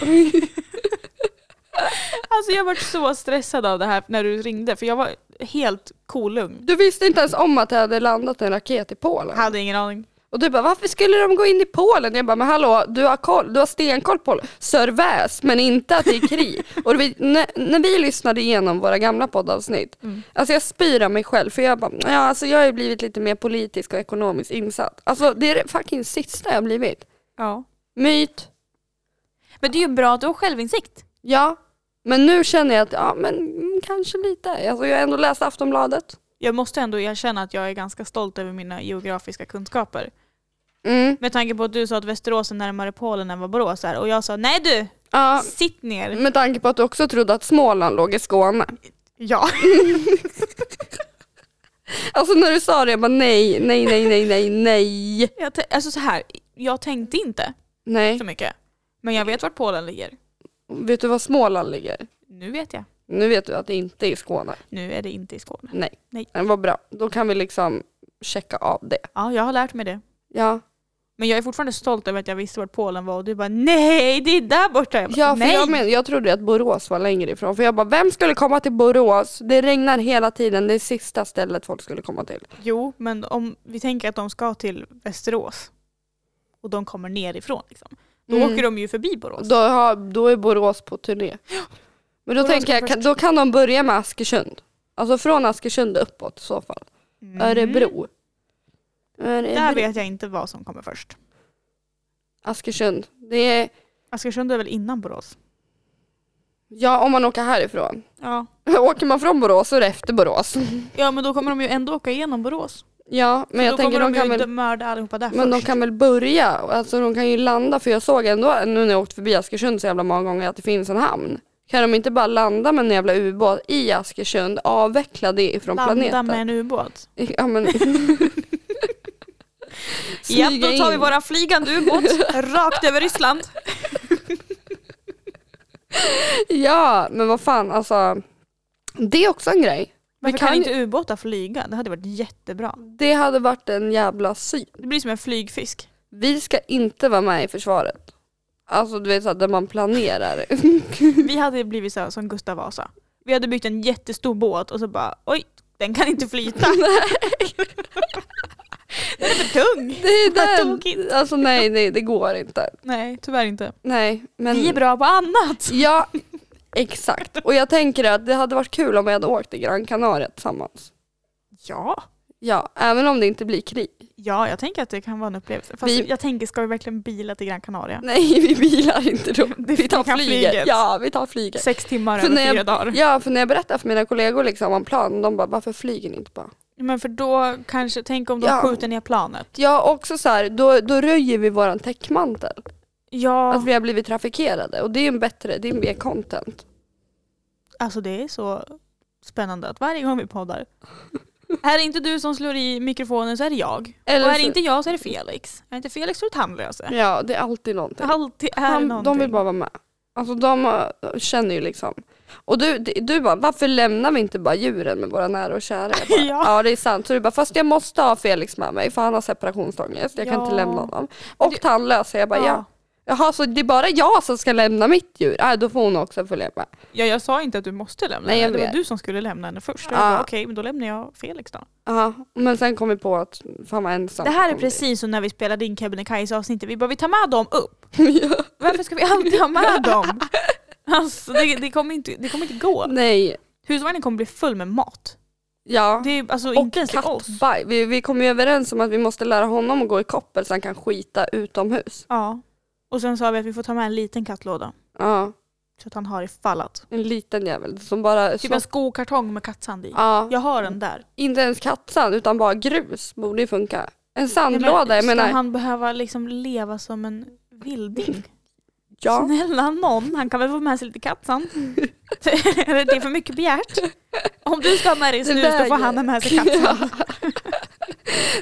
S2: alltså jag varit så stressad av det här när du ringde för jag var helt kolugn.
S1: Du visste inte ens om att det hade landat en raket i Polen.
S2: Hade ingen aning.
S1: Och du bara, varför skulle de gå in i Polen? Jag bara, men hallå, du har, koll, du har stenkoll på Sörväs, men inte att det är krig. Och vi, när, när vi lyssnade igenom våra gamla poddavsnitt, alltså jag spyr av mig själv, för jag bara, ja, alltså jag har ju blivit lite mer politisk och ekonomiskt insatt. Alltså det är det fucking sista jag har blivit.
S2: Ja.
S1: Myt,
S2: Men det är ju bra att du har självinsikt.
S1: ja. Men nu känner jag att, ja men mm, kanske lite. Alltså jag har ändå läst Aftonbladet.
S2: Jag måste ändå erkänna att jag är ganska stolt över mina geografiska kunskaper.
S1: Mm.
S2: Med tanke på att du sa att Västerås är närmare Polen än vad Borås är och jag sa nej du,
S1: Ja, Mm.
S2: sitt ner.
S1: med tanke på att du också trodde att Småland låg i Skåne.
S2: Ja.
S1: Alltså när du sa det, jag bara nej, nej, nej, nej, nej, nej.
S2: Jag tän- alltså så här, jag tänkte inte
S1: Nej.
S2: så mycket. Men jag vet vart Polen ligger.
S1: Vet du var Småland ligger?
S2: Nu vet jag.
S1: Nu vet du att det inte är i Skåne.
S2: Nu är det inte i Skåne.
S1: Nej.
S2: Nej.
S1: Men vad bra, då kan vi liksom checka av det.
S2: Ja, jag har lärt mig det.
S1: Ja,
S2: Men jag är fortfarande stolt över att jag visste vart Polen var och du bara nej, det är där borta. Jag bara,
S1: ja för
S2: nej.
S1: jag, men, jag trodde att Borås var längre ifrån. För jag bara, vem skulle komma till Borås? Det regnar hela tiden, det är sista stället folk skulle komma till.
S2: Jo, men om vi tänker att de ska till Västerås och de kommer nerifrån. Liksom. Då
S1: Mm.
S2: åker de ju förbi Borås.
S1: Då, har, då är Borås på turné. Men då
S2: Borås
S1: tänker
S2: går
S1: jag, kan,
S2: först.
S1: då kan de börja med Askersund. Alltså från Askersund uppåt i så fall.
S2: Mm.
S1: Örebro.
S2: Där
S1: Örebro.
S2: vet jag inte vad som kommer först.
S1: Askersund. Det är,
S2: Askersund är väl innan Borås?
S1: ja om man åker härifrån.
S2: Ja.
S1: Åker man från Borås så är det efter Borås.
S2: ja, men då kommer de ju ändå åka igenom Borås.
S1: Ja, men
S2: Men
S1: jag
S2: då kommer
S1: tänker
S2: de,
S1: de kan
S2: ju
S1: väl
S2: inte mörda allihopa där
S1: Men de
S2: först.
S1: kan väl börja, alltså de kan ju landa för jag såg ändå nu när jag åkt förbi Askersund så jävla många gånger att det finns en hamn. Kan de inte bara landa med en jävla ubåt i Askersund, avveckla det ifrån
S2: Landa
S1: planeten?
S2: med en ubåt.
S1: Ja, men...
S2: Ja, då tar vi
S1: in.
S2: våra flygande ubåt rakt över Ryssland.
S1: Ja, men vad fan alltså. Det är också en grej.
S2: Varför
S1: Vi
S2: kan,
S1: kan
S2: inte ubåtar flyga? Det hade varit jättebra.
S1: Det hade varit en jävla syn.
S2: Det blir som en flygfisk.
S1: Vi ska inte vara med i försvaret. Alltså du vet så här, där man planerar.
S2: Vi hade blivit så här, som Gustav Vasa. Vi hade byggt en jättestor båt och så bara oj, den kan inte flyta. den är för tung.
S1: Det är
S2: Vad
S1: den.
S2: tokigt.
S1: Alltså nej, nej det går inte.
S2: Nej, tyvärr inte.
S1: Nej, men...
S2: Vi är bra på annat.
S1: Ja, exakt. Och jag tänker att det hade varit kul om vi hade åkt till Gran Canaria tillsammans.
S2: Ja.
S1: Ja, även om det inte blir krig.
S2: Ja, jag tänker att det kan vara en upplevelse. Fast
S1: Vi-
S2: jag tänker, ska vi verkligen bila till Gran Canaria?
S1: Nej, vi bilar inte då.
S2: Det-
S1: Vi tar
S2: vi kan
S1: flyget.
S2: flyget.
S1: Ja, vi tar flyget.
S2: Sex timmar
S1: För när
S2: över fyra
S1: jag-
S2: dagar.
S1: Ja, för när jag berättar för mina kollegor liksom om planen, de bara varför flyger ni inte bara?
S2: Men för då kanske, tänk om de
S1: Ja.
S2: skjuter ner planet.
S1: Ja, också så här, då, då röjer vi våran täckmantel.
S2: Ja,
S1: Att vi har blivit trafikerade och det är ju en bättre, det är mer content.
S2: alltså det är så spännande att varje gång vi poddar, är det inte du som slår i mikrofonen så är det jag.
S1: Eller
S2: Och är det
S1: så-
S2: inte jag så är det Felix. Är det inte Felix så är det tandlöse.
S1: Ja, det är alltid någonting.
S2: Alltid är det
S1: Han,
S2: någonting.
S1: de vill bara vara med. Alltså de eh, känner ju liksom. Och du, du bara, varför lämnar vi inte bara djuren med våra nära och kära? Jag Bara,
S2: Ja.
S1: ja det är sant. Så du bara, fast jag måste ha Felix med mig för han har separationsångest. Jag kan
S2: Ja.
S1: inte lämna honom. Och tandlös. så Jag bara, ja.
S2: ja.
S1: Jaha, så det är bara jag som ska lämna mitt djur? Nej, då får hon också följa med.
S2: ja, jag sa inte att du måste lämna
S1: Nej, jag
S2: henne. Det var
S1: vet.
S2: du som skulle lämna henne först. Och
S1: Ja.
S2: jag bara, Okej, men då lämnar jag Felix då.
S1: Ja, men sen kom vi på att fan var ensam.
S2: Det här är
S1: Kom
S2: precis som när vi spelade in Kebnekaise avsnittet. Vi bara, vi tar med dem upp.
S1: dit. ja.
S2: Varför ska vi alltid ha med dem? Alltså, det, det, kommer inte, det kommer inte gå.
S1: Nej,
S2: Husvagnen kommer bli full med mat.
S1: ja.
S2: Det är alltså
S1: och
S2: inte ens till oss.
S1: kattbaj. Vi, vi kom ju överens om att vi måste lära honom att gå i koppel så han kan skita utomhus.
S2: Ja. Och sen sa vi att vi får ta med en liten kattlåda.
S1: Ja.
S2: Så att han har ifall att.
S1: En liten jävel som bara...
S2: Typ
S1: slå-
S2: en skokartong med kattsand i.
S1: ja,
S2: Jag har den där.
S1: Inte ens kattsand utan bara grus borde ju funka. En sandlåda, jag
S2: ska
S1: menar.
S2: han behöva liksom leva som en vilding?
S1: Ja.
S2: Snälla någon, han kan väl få med sig lite kattsand? Eller det är för mycket begärt. Om du ska ha med dig
S1: Det
S2: snus då får han ha med sig kattsand.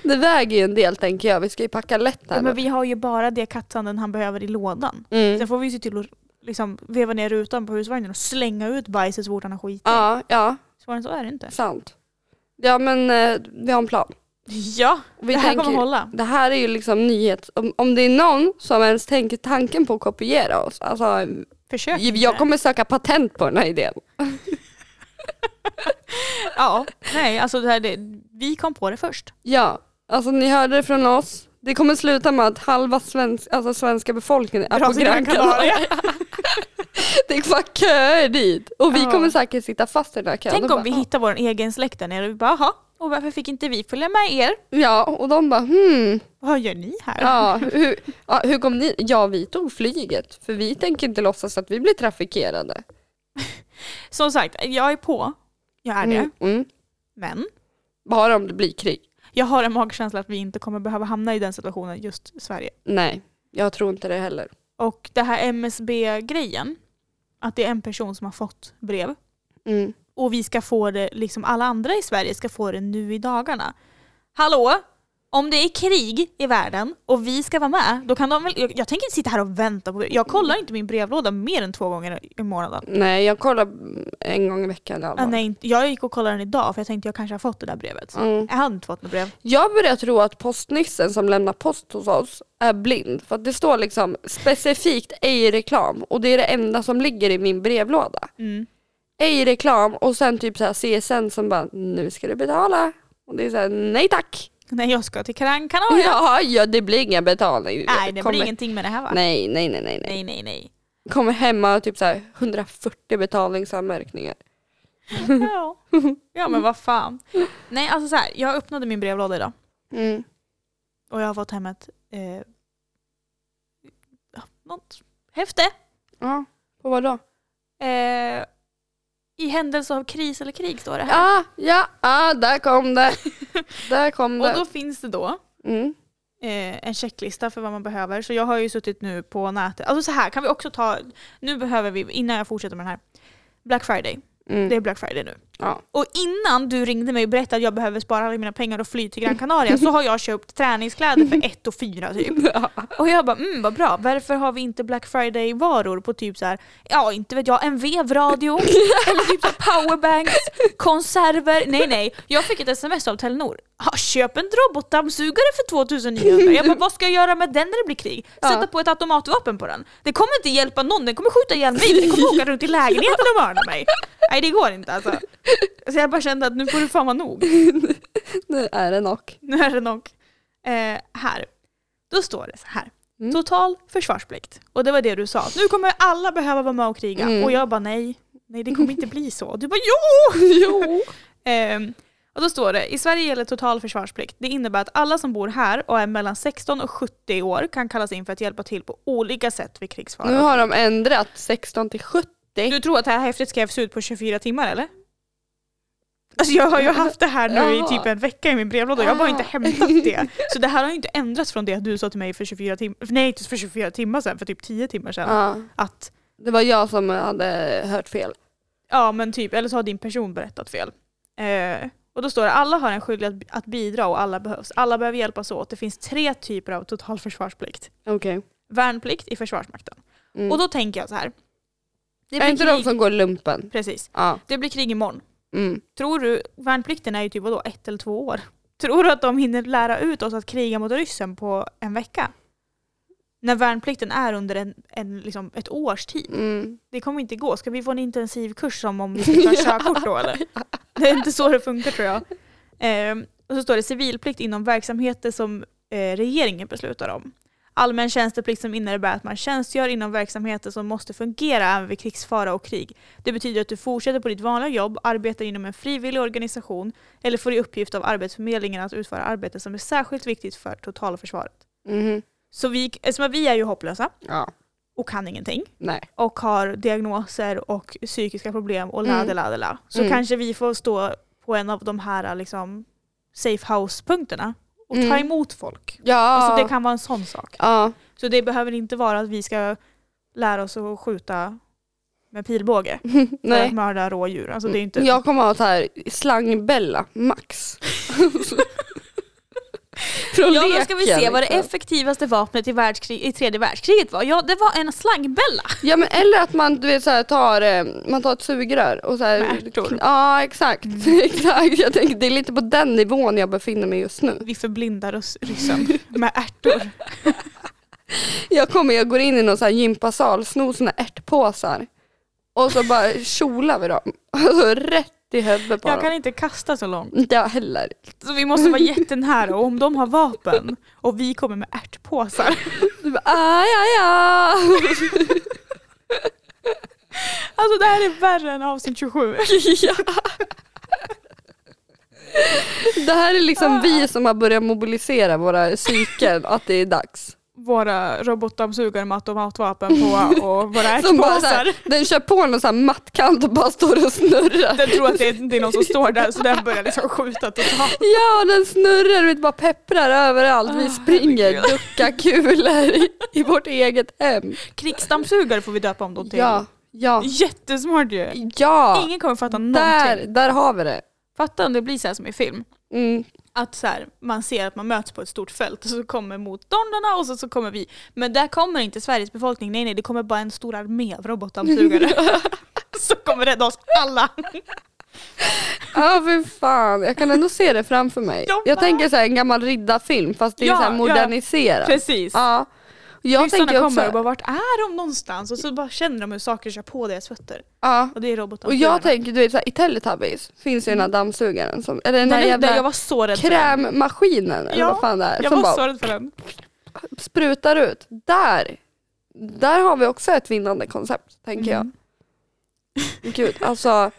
S1: Det väger ju en del tänker jag. Vi ska ju packa lätt här.
S2: Ja, men vi har ju bara det kattsanden han behöver i lådan.
S1: nu. mm.
S2: Sen får vi ju se till att liksom veva ner rutan på husvagnen och slänga ut bajset så fort han har skitit.
S1: Ja, ja,
S2: Svårare än så är det inte.
S1: sant. Ja men eh, vi har en plan.
S2: Ja,
S1: Och Vi
S2: det här
S1: tänker,
S2: kommer hålla.
S1: Det här är ju liksom nyhet. Om, om det är någon som ens tänker tanken på att kopiera oss. Alltså,
S2: Försök
S1: jag
S2: inte.
S1: kommer söka patent på den här idén.
S2: Ja, nej alltså det här, det, vi kom på det först.
S1: Ja, alltså ni hörde det från oss. Det kommer sluta med att halva svensk, alltså svenska befolkningen är på
S2: Dra till
S1: Gran Canaria. Det är bara köer dit. Och vi
S2: Ja.
S1: kommer säkert sitta fast i den här kön. "Ah."
S2: Tänk
S1: Och
S2: om vi hittar vår egen släkt där nere och vi bara jaha, och varför fick inte vi följa med er?
S1: Ja, och de bara hmm,
S2: Vad gör ni här?
S1: ja, hur, ja, hur kom ni? Ja, vi tog flyget. För vi tänker inte låtsas att vi blir trafikerade.
S2: Som sagt, jag är på. Jag är det.
S1: Mm, mm.
S2: Men
S1: Bara om det blir krig.
S2: jag har en magkänsla att vi inte kommer behöva hamna i den situationen just i Sverige.
S1: Nej, jag tror inte det heller.
S2: Och det här MSB-grejen, att det är en person som har fått brev
S1: Mm.
S2: och vi ska få det, liksom alla andra i Sverige ska få det nu i dagarna. Hallå? Om det är krig i världen och vi ska vara med, då kan de väl... Jag, jag tänker inte sitta här och vänta på... Jag kollar inte min brevlåda mer än två gånger i månaden.
S1: Nej, jag kollar en gång i veckan i alla
S2: Ah,
S1: fall.
S2: nej, inte- jag gick och kollade den idag för jag tänkte jag kanske har fått det där brevet.
S1: Mm.
S2: Jag hade inte fått något brev.
S1: Jag börjar tro att postnissen som lämnar post hos oss är blind. För att det står liksom specifikt ej reklam och det är det enda som ligger i min brevlåda.
S2: Mm.
S1: Ej reklam och sen typ så här CSN som bara nu ska du betala. Och det är så här nej tack.
S2: när jag ska till Gran Canaria.
S1: Ja, ja, det blir ingen betalning.
S2: Nej, det blir
S1: Kommer-
S2: ingenting med det här va?
S1: Nej, nej, nej, nej. nej.
S2: nej, nej. nej.
S1: Kommer hemma och typ så här 140 betalningsanmärkningar.
S2: Ja. ja, men vad fan. Nej, alltså så här, jag öppnade min brevlåda idag
S1: Mm.
S2: och jag har fått hem ett eh, ja, något häfte.
S1: Ja, på vad då?
S2: Eh, I händelse av kris eller krig står det här.
S1: Ja, ja, ja, där kom det. Där kom
S2: och
S1: det.
S2: då finns det då
S1: Mm.
S2: eh, en checklista för vad man behöver. Så jag har ju suttit nu på nätet. Alltså så här kan vi också ta, nu behöver vi, innan jag fortsätter med den här, Black Friday.
S1: Mm.
S2: Det är Black Friday nu.
S1: Ja.
S2: Och innan du ringde mig och berättade att jag behöver spara alla mina pengar och fly till Gran Canaria så har jag köpt träningskläder för 1 och 4 typ. Och jag bara, mm vad bra, varför har vi inte Black Friday-varor på typ så här, ja inte vet jag, en vevradio, eller typ så här powerbanks, konserver, nej nej. Jag fick ett sms av Telenor, ja, köp en robotdammsugare för 2900. Jag bara, vad ska jag göra med den när det blir krig? Sätta
S1: Ja.
S2: på ett automatvapen på den. Det kommer inte hjälpa någon, den kommer skjuta ihjäl mig, den kommer åka runt i lägenheten och mörda mig. Nej det går inte alltså. Så jag bara kände att nu får det fan vara nog.
S1: Nu är det nog.
S2: Nu är det nog. Eh, här. Då står det så här.
S1: Mm.
S2: Total försvarsplikt. Och det var det du sa. Nu kommer alla behöva vara med och kriga.
S1: Mm.
S2: Och jag bara nej. Nej det kommer inte bli så. Och du bara jo!
S1: Jo.
S2: Ehm, och då står det, i Sverige gäller total försvarsplikt. Det innebär att alla som bor här och är mellan 16 och 70 år kan kallas in för att hjälpa till på olika sätt vid krigsfara.
S1: Nu har de ändrat 16 till 70.
S2: Du tror att det här häftet skrevs ut på 24 timmar eller? Alltså jag har ju haft det här nu
S1: Jaha.
S2: i typ en vecka i min brevlåda, jag har bara inte
S1: Ah.
S2: hämtat det. Så det här har ju inte ändrats från det att du sa till mig för 24 timmar, nej inte för 24 timmar sedan, för typ 10 timmar sedan.
S1: Ja.
S2: Att,
S1: Det var jag som hade hört fel.
S2: ja men typ, eller så har din person berättat fel. Eh, och då står det, alla har en skyldighet att, att bidra och alla behövs. Alla behöver hjälpas åt, det finns tre typer av totalförsvarsplikt.
S1: Okej.
S2: Värnplikt i Försvarsmakten.
S1: Mm.
S2: Och då tänker jag så här. Det
S1: är inte de
S2: krig,
S1: som går lumpen?
S2: precis,
S1: Ja.
S2: det blir krig imorgon.
S1: Mm.
S2: Tror du, värnplikten är ju typ vadå, ett eller två år. Tror du att de hinner lära ut oss att kriga mot ryssen på en vecka? När värnplikten är under en, en, liksom ett års tid.
S1: Mm.
S2: Det kommer inte gå. Ska vi få en intensiv kurs som om vi ska ta körkort då eller? Det är inte så det funkar tror jag. Ehm, och så står det civilplikt inom verksamheter som eh, regeringen beslutar om. Allmän tjänsteplikt som innebär att man tjänstgör inom verksamheter som måste fungera även vid krigsfara och krig. Det betyder att du fortsätter på ditt vanliga jobb, arbetar inom en frivillig organisation eller får i uppgift av Arbetsförmedlingen att utföra arbete som är särskilt viktigt för totalförsvaret.
S1: Mhm.
S2: Så vi, eftersom vi är ju hopplösa
S1: Ja.
S2: och kan ingenting
S1: Nej.
S2: och har diagnoser och psykiska problem och
S1: Mm.
S2: la la la la. Så
S1: Mm.
S2: kanske vi får stå på en av de här liksom, safe house-punkterna och ta
S1: Mm.
S2: emot folk.
S1: Ja.
S2: Alltså det kan vara en sån sak.
S1: ja.
S2: Så det behöver inte vara att vi ska lära oss att skjuta med pilbåge för att
S1: Nej. Mm.
S2: mörda rådjur. Alltså det är inte...
S1: Jag kommer ha så här slangbella, max. Från
S2: Ja, men ska vi se
S1: leken,
S2: vad det
S1: liksom.
S2: effektivaste vapnet i, världskrig, i tredje världskriget var? Ja, det var en slangbella.
S1: Ja men eller att man du vet, så här, tar, eh, man tar ett sugrör och så här,
S2: Med ärtor. Mm.
S1: Ja exakt, exakt. Jag tänker, det är lite på den nivån jag befinner mig just nu.
S2: Vi förblindar oss ryssen med ärtor.
S1: Jag kommer, jag går in i någon så här gympasal, snor såna ärtpåsar och så bara kjolar vi dem. Alltså rätt i huvudet på
S2: Jag
S1: dem.
S2: kan inte kasta så långt.
S1: Inte jag heller.
S2: Så vi måste vara jättenära och om de har vapen och vi kommer med ärtpåsar.
S1: Du bara, aj, aj, aj.
S2: Alltså det här är värre än avsnitt 27.
S1: Ja. Det här är
S2: Ah.
S1: liksom vi som har börjat mobilisera våra psyken att det är dags.
S2: Våra robotdammsugare med automatvapen på och våra
S1: Som bara så här,
S2: ärtpåsar.
S1: den kör på någon sån här mattkant och bara står och snurrar.
S2: Den tror att det är, det är någon som står där så den börjar liksom skjuta totalt.
S1: Ja, den snurrar och bara pepprar överallt. Vi
S2: Ah,
S1: springer,
S2: herregud.
S1: duckar kulor i, i vårt eget hem.
S2: Krigsdammsugare får vi döpa om dem till.
S1: Ja, ja,
S2: Jättesmart ju.
S1: ja.
S2: Ingen kommer
S1: Där,
S2: fatta någonting.
S1: där har vi det.
S2: Fatta om det blir så här som i film.
S1: Mm.
S2: Att så här, man ser att man möts på ett stort fält och så kommer motståndarna och så, så kommer vi. Men där kommer inte Sveriges befolkning, nej nej det kommer bara en stor armé av robotdammsugare. så kommer rädda oss alla.
S1: Ja, fy fan. Jag kan ändå se det framför mig.
S2: Jag
S1: Jag
S2: med.
S1: tänker så här, en gammal riddarfilm fast det är
S2: Ja,
S1: så här
S2: ja.
S1: moderniserat.
S2: Precis.
S1: Ja. Jag
S2: Ryssarna
S1: tänker
S2: kommer
S1: också,
S2: och bara vart är de någonstans? Och så bara känner de hur saker kör på deras fötter.
S1: ja.
S2: Och det är robotar.
S1: Och jag tänker, du vet så här, i Teletubbies finns ju den här dammsugaren som, eller den,
S2: den
S1: här
S2: är, den, jag
S1: jävla
S2: var så rädd för den.
S1: krämmaskinen eller
S2: Typ Ja,
S1: vad fan det är,
S2: Jag
S1: som
S2: var
S1: bara
S2: så rädd för den.
S1: sprutar ut. Där, där har vi också ett vinnande koncept tänker
S2: Mm.
S1: jag. Gud, alltså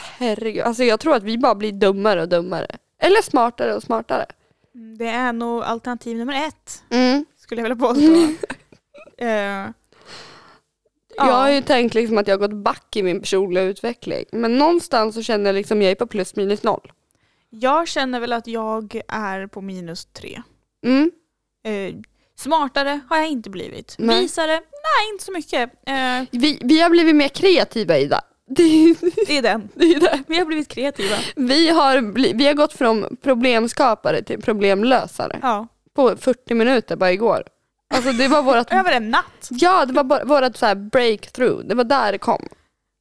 S1: herregud, alltså jag tror att vi bara blir dummare och dummare. Eller smartare och smartare.
S2: Mm, Det är nog alternativ nummer ett,
S1: Mm.
S2: skulle jag vilja påstå. Eh,
S1: Jag har
S2: ja,
S1: ju tänkt liksom att jag har gått back i min personliga utveckling. Men någonstans så känner jag liksom jag är på plus minus noll.
S2: jag känner väl att jag är på minus tre.
S1: Mm.
S2: Eh, smartare har jag inte blivit.
S1: Nej.
S2: Visare? Nej, inte så mycket. Eh,
S1: Vi, vi har blivit mer kreativa Ida. Det är,
S2: det är den.
S1: det är det.
S2: Vi har blivit kreativa.
S1: Vi, har bli, vi har gått från problemskapare till problemlösare
S2: Ja.
S1: på 40 minuter bara igår. Alltså det var vårat,
S2: Över en natt.
S1: ja det var bara, vårat så här breakthrough, det var där det kom.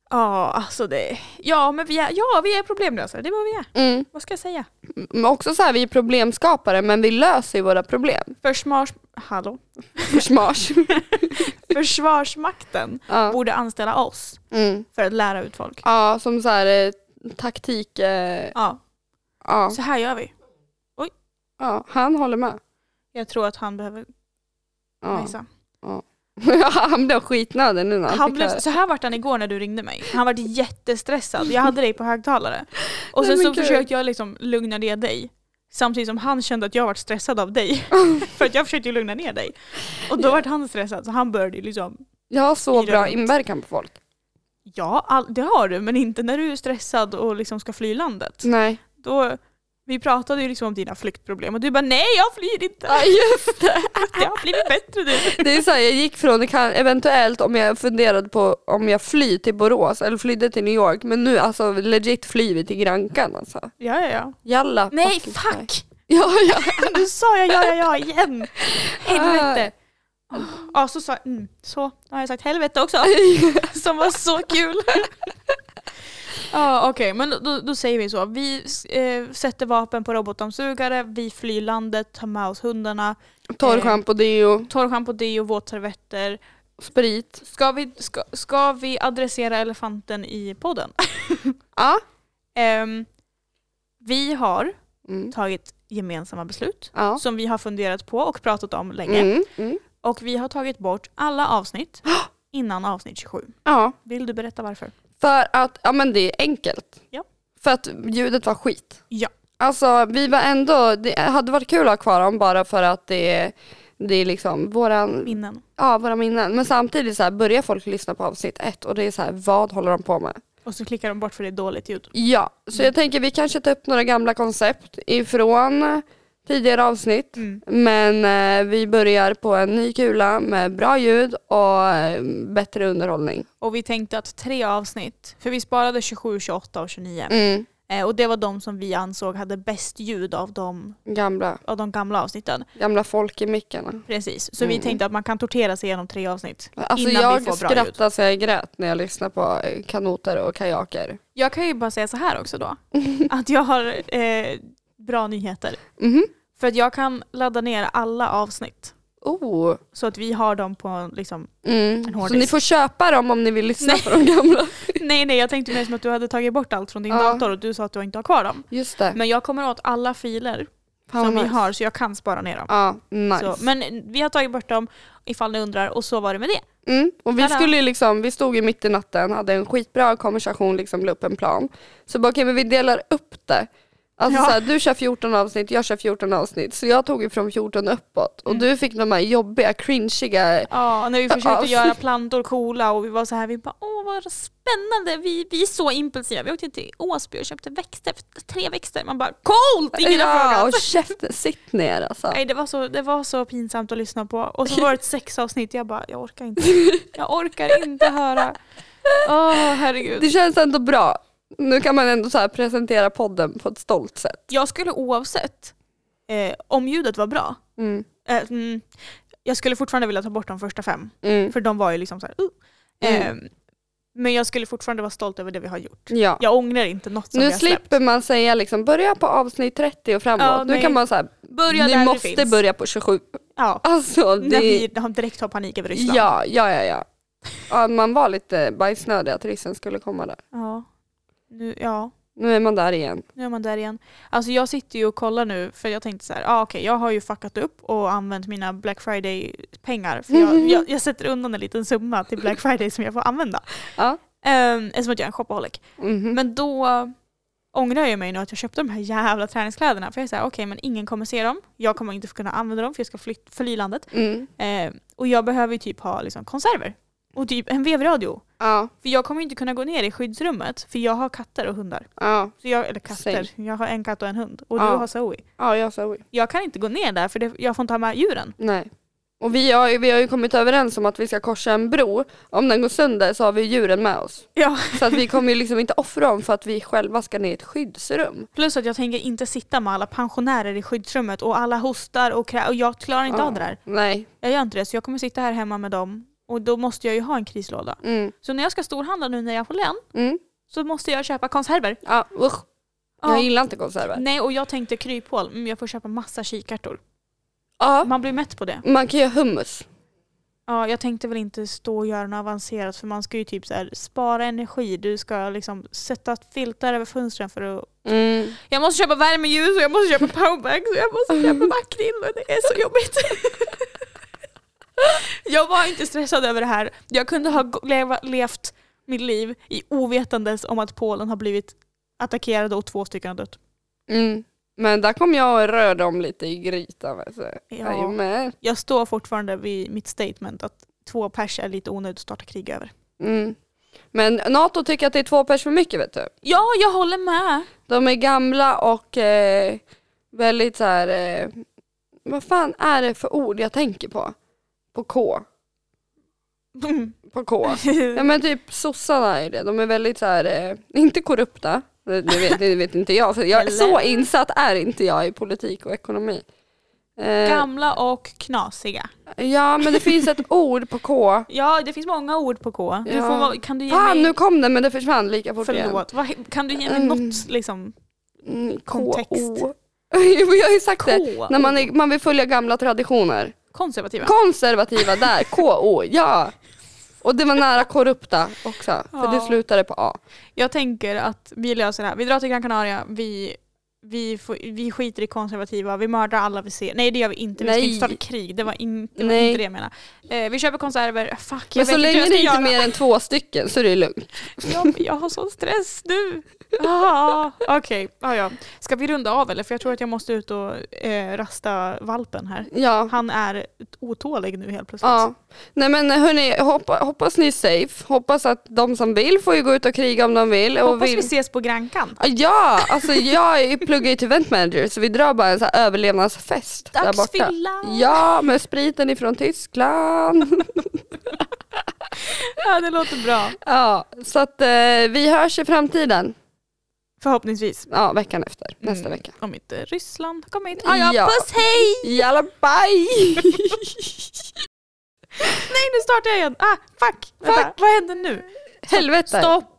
S2: Ja, alltså det... Ja, men vi är, ja, vi är problemlösare. Det är vad vi är.
S1: Mm.
S2: Vad ska jag säga?
S1: Men också så här, vi är problemskapare men vi löser ju våra problem.
S2: Försmars... Hallå?
S1: Försmars.
S2: Försvarsmakten
S1: ja.
S2: borde anställa oss
S1: Mm.
S2: för att lära ut folk.
S1: ja, som så här eh, taktik... Eh,
S2: Ja,
S1: ja.
S2: så här gör vi.
S1: Ja, han håller med.
S2: Jag tror att han behöver
S1: Ja.
S2: visa.
S1: han blev skitnödig nu när han,
S2: Han
S1: fick
S2: blev,
S1: höra.
S2: så här vart han igår när du ringde mig. Han vart jättestressad. Jag hade dig på högtalare. Och
S1: Nej,
S2: sen
S1: men
S2: så
S1: gud.
S2: försökte jag liksom lugna ner dig. Samtidigt som han kände att jag vart stressad av dig. För att jag försökte ju lugna ner dig. Och då vart han stressad så han började ju liksom
S1: Jag har så
S2: Fyra
S1: bra
S2: runt.
S1: inverkan på folk.
S2: Ja, all, det har du men inte när du är stressad och liksom ska fly landet.
S1: Nej.
S2: Då, vi pratade ju liksom om dina flyktproblem och du bara nej jag flyr inte.
S1: Ja, just det.
S2: Det har blivit bättre nu.
S1: Det är så här, jag gick från, det kan, eventuellt om jag funderade på om jag flyr till Borås eller flydde till New York, men nu alltså legit flyr vi till Grankan alltså.
S2: Ja, ja, ja.
S1: Jalla.
S2: Nej,
S1: fucking sky.
S2: fuck!
S1: Ja, ja.
S2: Du sa jag ja, ja, ja igen! Helvete! Ah. Ja, så sa mm, så. Då har jag sagt helvete också. Som var så kul. Ja, okej, men då, då säger vi så. Vi eh, sätter vapen på robotdammsugare, vi flyr landet, tar med oss hundarna,
S1: Torrschampo, deo,
S2: torrschampo, deo, våtservetter.
S1: sprit.
S2: Ska vi, ska, ska vi adressera elefanten i podden?
S1: Ja.
S2: Ehm, vi har
S1: Mm.
S2: tagit gemensamma beslut
S1: Ja.
S2: som vi har funderat på och pratat om länge.
S1: Mm. Mm.
S2: Och vi har tagit bort alla avsnitt innan avsnitt 27.
S1: Ja.
S2: Vill du berätta varför?
S1: För att, ja men det är enkelt.
S2: Ja.
S1: För att ljudet var skit.
S2: Ja.
S1: Alltså vi var ändå, det hade varit kul att ha kvar dem bara för att det är, det är liksom våran,
S2: Minnen.
S1: ja, våra minnen. Men samtidigt så här börjar folk lyssna på avsnitt ett och det är så här, vad håller de på med?
S2: Och så klickar de bort för det är dåligt ljud.
S1: Ja, så jag tänker vi kanske tar upp några gamla koncept ifrån tidigare avsnitt.
S2: Mm.
S1: Men eh, vi börjar på en ny kula med bra ljud och eh, bättre underhållning.
S2: Och vi tänkte att tre avsnitt, för vi sparade 27, 28 och 29.
S1: Mm.
S2: Eh, och det var de som vi ansåg hade bäst ljud av de,
S1: Gamla,
S2: av de gamla avsnitten.
S1: gamla folk i mickarna.
S2: Precis. Så vi
S1: Mm.
S2: tänkte att man kan tortera sig igenom tre avsnitt
S1: Alltså
S2: innan vi
S1: jag
S2: får bra ljud.
S1: skrattade så jag grät när jag lyssnade på eh, kanoter och kajaker.
S2: Jag kan ju bara säga så här också då. att jag har eh, bra nyheter.
S1: Mhm.
S2: För att jag kan ladda ner alla avsnitt.
S1: Oh.
S2: Så att vi har dem på liksom... En
S1: Mm.
S2: hård
S1: Så ni
S2: disk.
S1: får köpa dem om ni vill lyssna
S2: Nej.
S1: på de gamla.
S2: Nej nej, jag tänkte mer som att du hade tagit bort allt från din
S1: Ja.
S2: dator och du sa att du inte har kvar dem.
S1: Just det.
S2: Men jag kommer åt alla filer
S1: Fan,
S2: som
S1: vad
S2: vi har så jag kan spara ner dem.
S1: Ja, nice.
S2: Så, men vi har tagit bort dem ifall ni undrar och så var det med det.
S1: Mm. Och vi,
S2: Tada.
S1: skulle ju liksom, vi stod ju mitt i natten, hade en skitbra konversation, liksom, la upp en plan. Så bara, okej men vi delar upp det. Alltså
S2: Ja.
S1: så här, du kör 14 avsnitt, jag kör 14 avsnitt. Så jag tog ju från 14 uppåt. Och
S2: Mm.
S1: du fick de här jobbiga, cringiga...
S2: Ja, när vi
S1: Ja.
S2: försökte göra plantor coola och vi var så här, vi bara åh vad spännande, vi, vi är så impulsiva. Vi åkte till Åsby och köpte växter, tre växter. Man bara coolt! Ingen har
S1: ja,
S2: frågat.
S1: och käften, sitt ner alltså.
S2: Nej, det var, så, det var så pinsamt att lyssna på. Och så var det ett sexavsnitt, jag bara jag orkar inte. Jag orkar inte höra. Åh herregud.
S1: Det känns ändå bra. Nu kan man ändå så här presentera podden på ett stolt sätt.
S2: Jag skulle oavsett eh, om ljudet var bra,
S1: Mm.
S2: eh, mm, jag skulle fortfarande vilja ta bort de första fem.
S1: Mm.
S2: För de var ju liksom så här, uh. eh, Men jag skulle fortfarande vara stolt över det vi har gjort.
S1: Ja.
S2: Jag ångrar inte något som
S1: Nu
S2: jag släppt.
S1: slipper man säga liksom, börja på avsnitt 30 och framåt.
S2: Ja,
S1: nu
S2: nej.
S1: kan man så här,
S2: Börja där
S1: Ni
S2: det
S1: måste
S2: finns.
S1: börja på 27.
S2: Ja.
S1: Alltså
S2: När vi
S1: det...
S2: har direkt har panik över Ryssland.
S1: Ja, ja, ja, ja. ja. Man var lite bajsnödig att ryssen skulle komma där.
S2: Ja. Nu, ja.
S1: Nu är man där igen.
S2: Nu är man där igen. Alltså jag sitter ju och kollar nu för jag tänkte så här, ah, okej jag har ju fuckat upp och använt mina Black Friday-pengar. För jag, jag, jag sätter undan en liten summa till Black Friday som jag får använda.
S1: Ja.
S2: Um, eftersom att jag är en shopaholic.
S1: Mhm.
S2: Men då eh, ångrar jag mig nu att jag köpte de här jävla träningskläderna. För jag är såhär, okej men ingen kommer se dem. Jag kommer inte kunna använda dem för jag ska flyt- fly landet.
S1: Mm.
S2: Eh, och jag behöver ju typ ha liksom, konserver. Och typ en vevradio.
S1: Ja,
S2: För jag kommer ju inte kunna gå ner i skyddsrummet för jag har katter och hundar.
S1: ja,
S2: Så jag, eller katter, jag har en katt och en hund. Och du
S1: Ja.
S2: har Zoe.
S1: ja, jag sa oj.
S2: Jag kan inte gå ner där för det, jag får inte ha med djuren.
S1: Nej. Och vi har, ju- vi har ju kommit överens om att vi ska korsa en bro. Om den går sönder så har vi djuren med oss.
S2: Ja.
S1: Så att vi kommer ju liksom inte offra dem för att vi själva ska ner i ett skyddsrum.
S2: Plus att jag tänker inte sitta med alla pensionärer i skyddsrummet och alla hostar och, krä- och jag klarar inte
S1: Ja.
S2: av det där.
S1: Nej.
S2: Jag gör inte det så jag kommer sitta här hemma med dem och då måste jag ju ha en krislåda.
S1: Mm.
S2: Så när jag ska storhandla nu när jag får lön
S1: Mm.
S2: så måste jag köpa konserver.
S1: Ja, usch.
S2: Ja.
S1: Jag gillar inte konserver.
S2: Nej och jag tänkte kryphål, mm, jag får köpa massa kikärtor.
S1: Ja,
S2: Man blir mätt på det.
S1: man kan göra hummus.
S2: Ja, jag tänkte väl inte stå och göra något avancerat för man ska ju typ så här, spara energi, du ska liksom sätta filtar över fönstren för att...
S1: Mm.
S2: Jag måste köpa värmeljus och jag måste köpa powerbanks och jag måste
S1: Mm.
S2: köpa makrill och det är så jobbigt. jag var inte stressad över det här. Jag kunde ha gå- leva, levt mitt liv i ovetandes om att Polen har blivit attackerade och två stycken har dött.
S1: Mm. Men där kom jag och rörde om lite i grytan. Alltså.
S2: Ja.
S1: Jajamän.
S2: Jag står fortfarande vid mitt statement att två pers är lite onödigt att starta krig över.
S1: Mm. Men NATO tycker att det är två pers för mycket vet du.
S2: Ja, jag håller med.
S1: De är gamla och eh, väldigt så här. Eh, vad fan är det för ord jag tänker på? På K. På K. Ja men typ sossarna är det. De är väldigt så här. Eh, inte korrupta. Det det vet, det vet inte jag. För jag så
S2: Eller?
S1: insatt är inte jag i politik och ekonomi. Eh,
S2: Gamla och knasiga.
S1: ja men det finns ett ord på K.
S2: Ja, det finns många ord på K. Du
S1: Ja.
S2: får, vara- kan du ge
S1: Fan nu
S2: mig...
S1: kom den men det försvann lika fort igen.
S2: Förlåt. Vad, kan du ge mig
S1: Mm.
S2: något liksom?
S1: Mm,
S2: Kontext.
S1: K-O. Jag har ju sagt det.
S2: K.
S1: När man, är, man vill följa gamla traditioner.
S2: Konservativa.
S1: Konservativa där, K-O, ja. Och det var nära korrupta också, för det
S2: Ja.
S1: slutade på A.
S2: Jag tänker att vi löser det här. Vi drar till Gran Canaria, vi, vi, får, vi skiter i konservativa, vi mördar alla vi ser. Nej det gör vi inte, vi ska
S1: Nej.
S2: inte starta krig. Det var, in, det var
S1: Nej.
S2: inte det jag menade. Eh, vi köper konserver, fuck
S1: Men
S2: jag
S1: så
S2: vet inte hur
S1: länge
S2: jag
S1: det
S2: ska
S1: är inte
S2: göra.
S1: är mer än två stycken så är det lugnt.
S2: Jag, jag har sån stress nu. Ah, Okej, ah, ja. ska vi runda av eller? För jag tror att jag måste ut och eh, rasta valpen här.
S1: Ja.
S2: Han är otålig nu helt plötsligt.
S1: ja. Nej men eh, hörni, hoppa, hoppas ni är safe. Hoppas att de som vill får ju gå ut och kriga om de vill. Och
S2: Hoppas
S1: vill.
S2: vi ses på Grankan.
S1: Ja, alltså jag är- pluggar ju till event manager så vi drar bara en så här överlevnadsfest där borta.
S2: Dagsfylla!
S1: Ja, med spriten ifrån Tyskland.
S2: Ja, det låter bra.
S1: Ja, så att eh, vi hörs i framtiden.
S2: Förhoppningsvis.
S1: Ja, veckan efter. Nästa
S2: Mm.
S1: vecka.
S2: Om inte Ryssland kommer hit. Ah, ja,
S1: Ja.
S2: Puss, hej!
S1: Jalla, bye!
S2: Nej, nu startar jag igen. Ah, fuck!
S1: Vänta.
S2: fuck. Vad händer nu?
S1: Helvete.
S2: Stopp!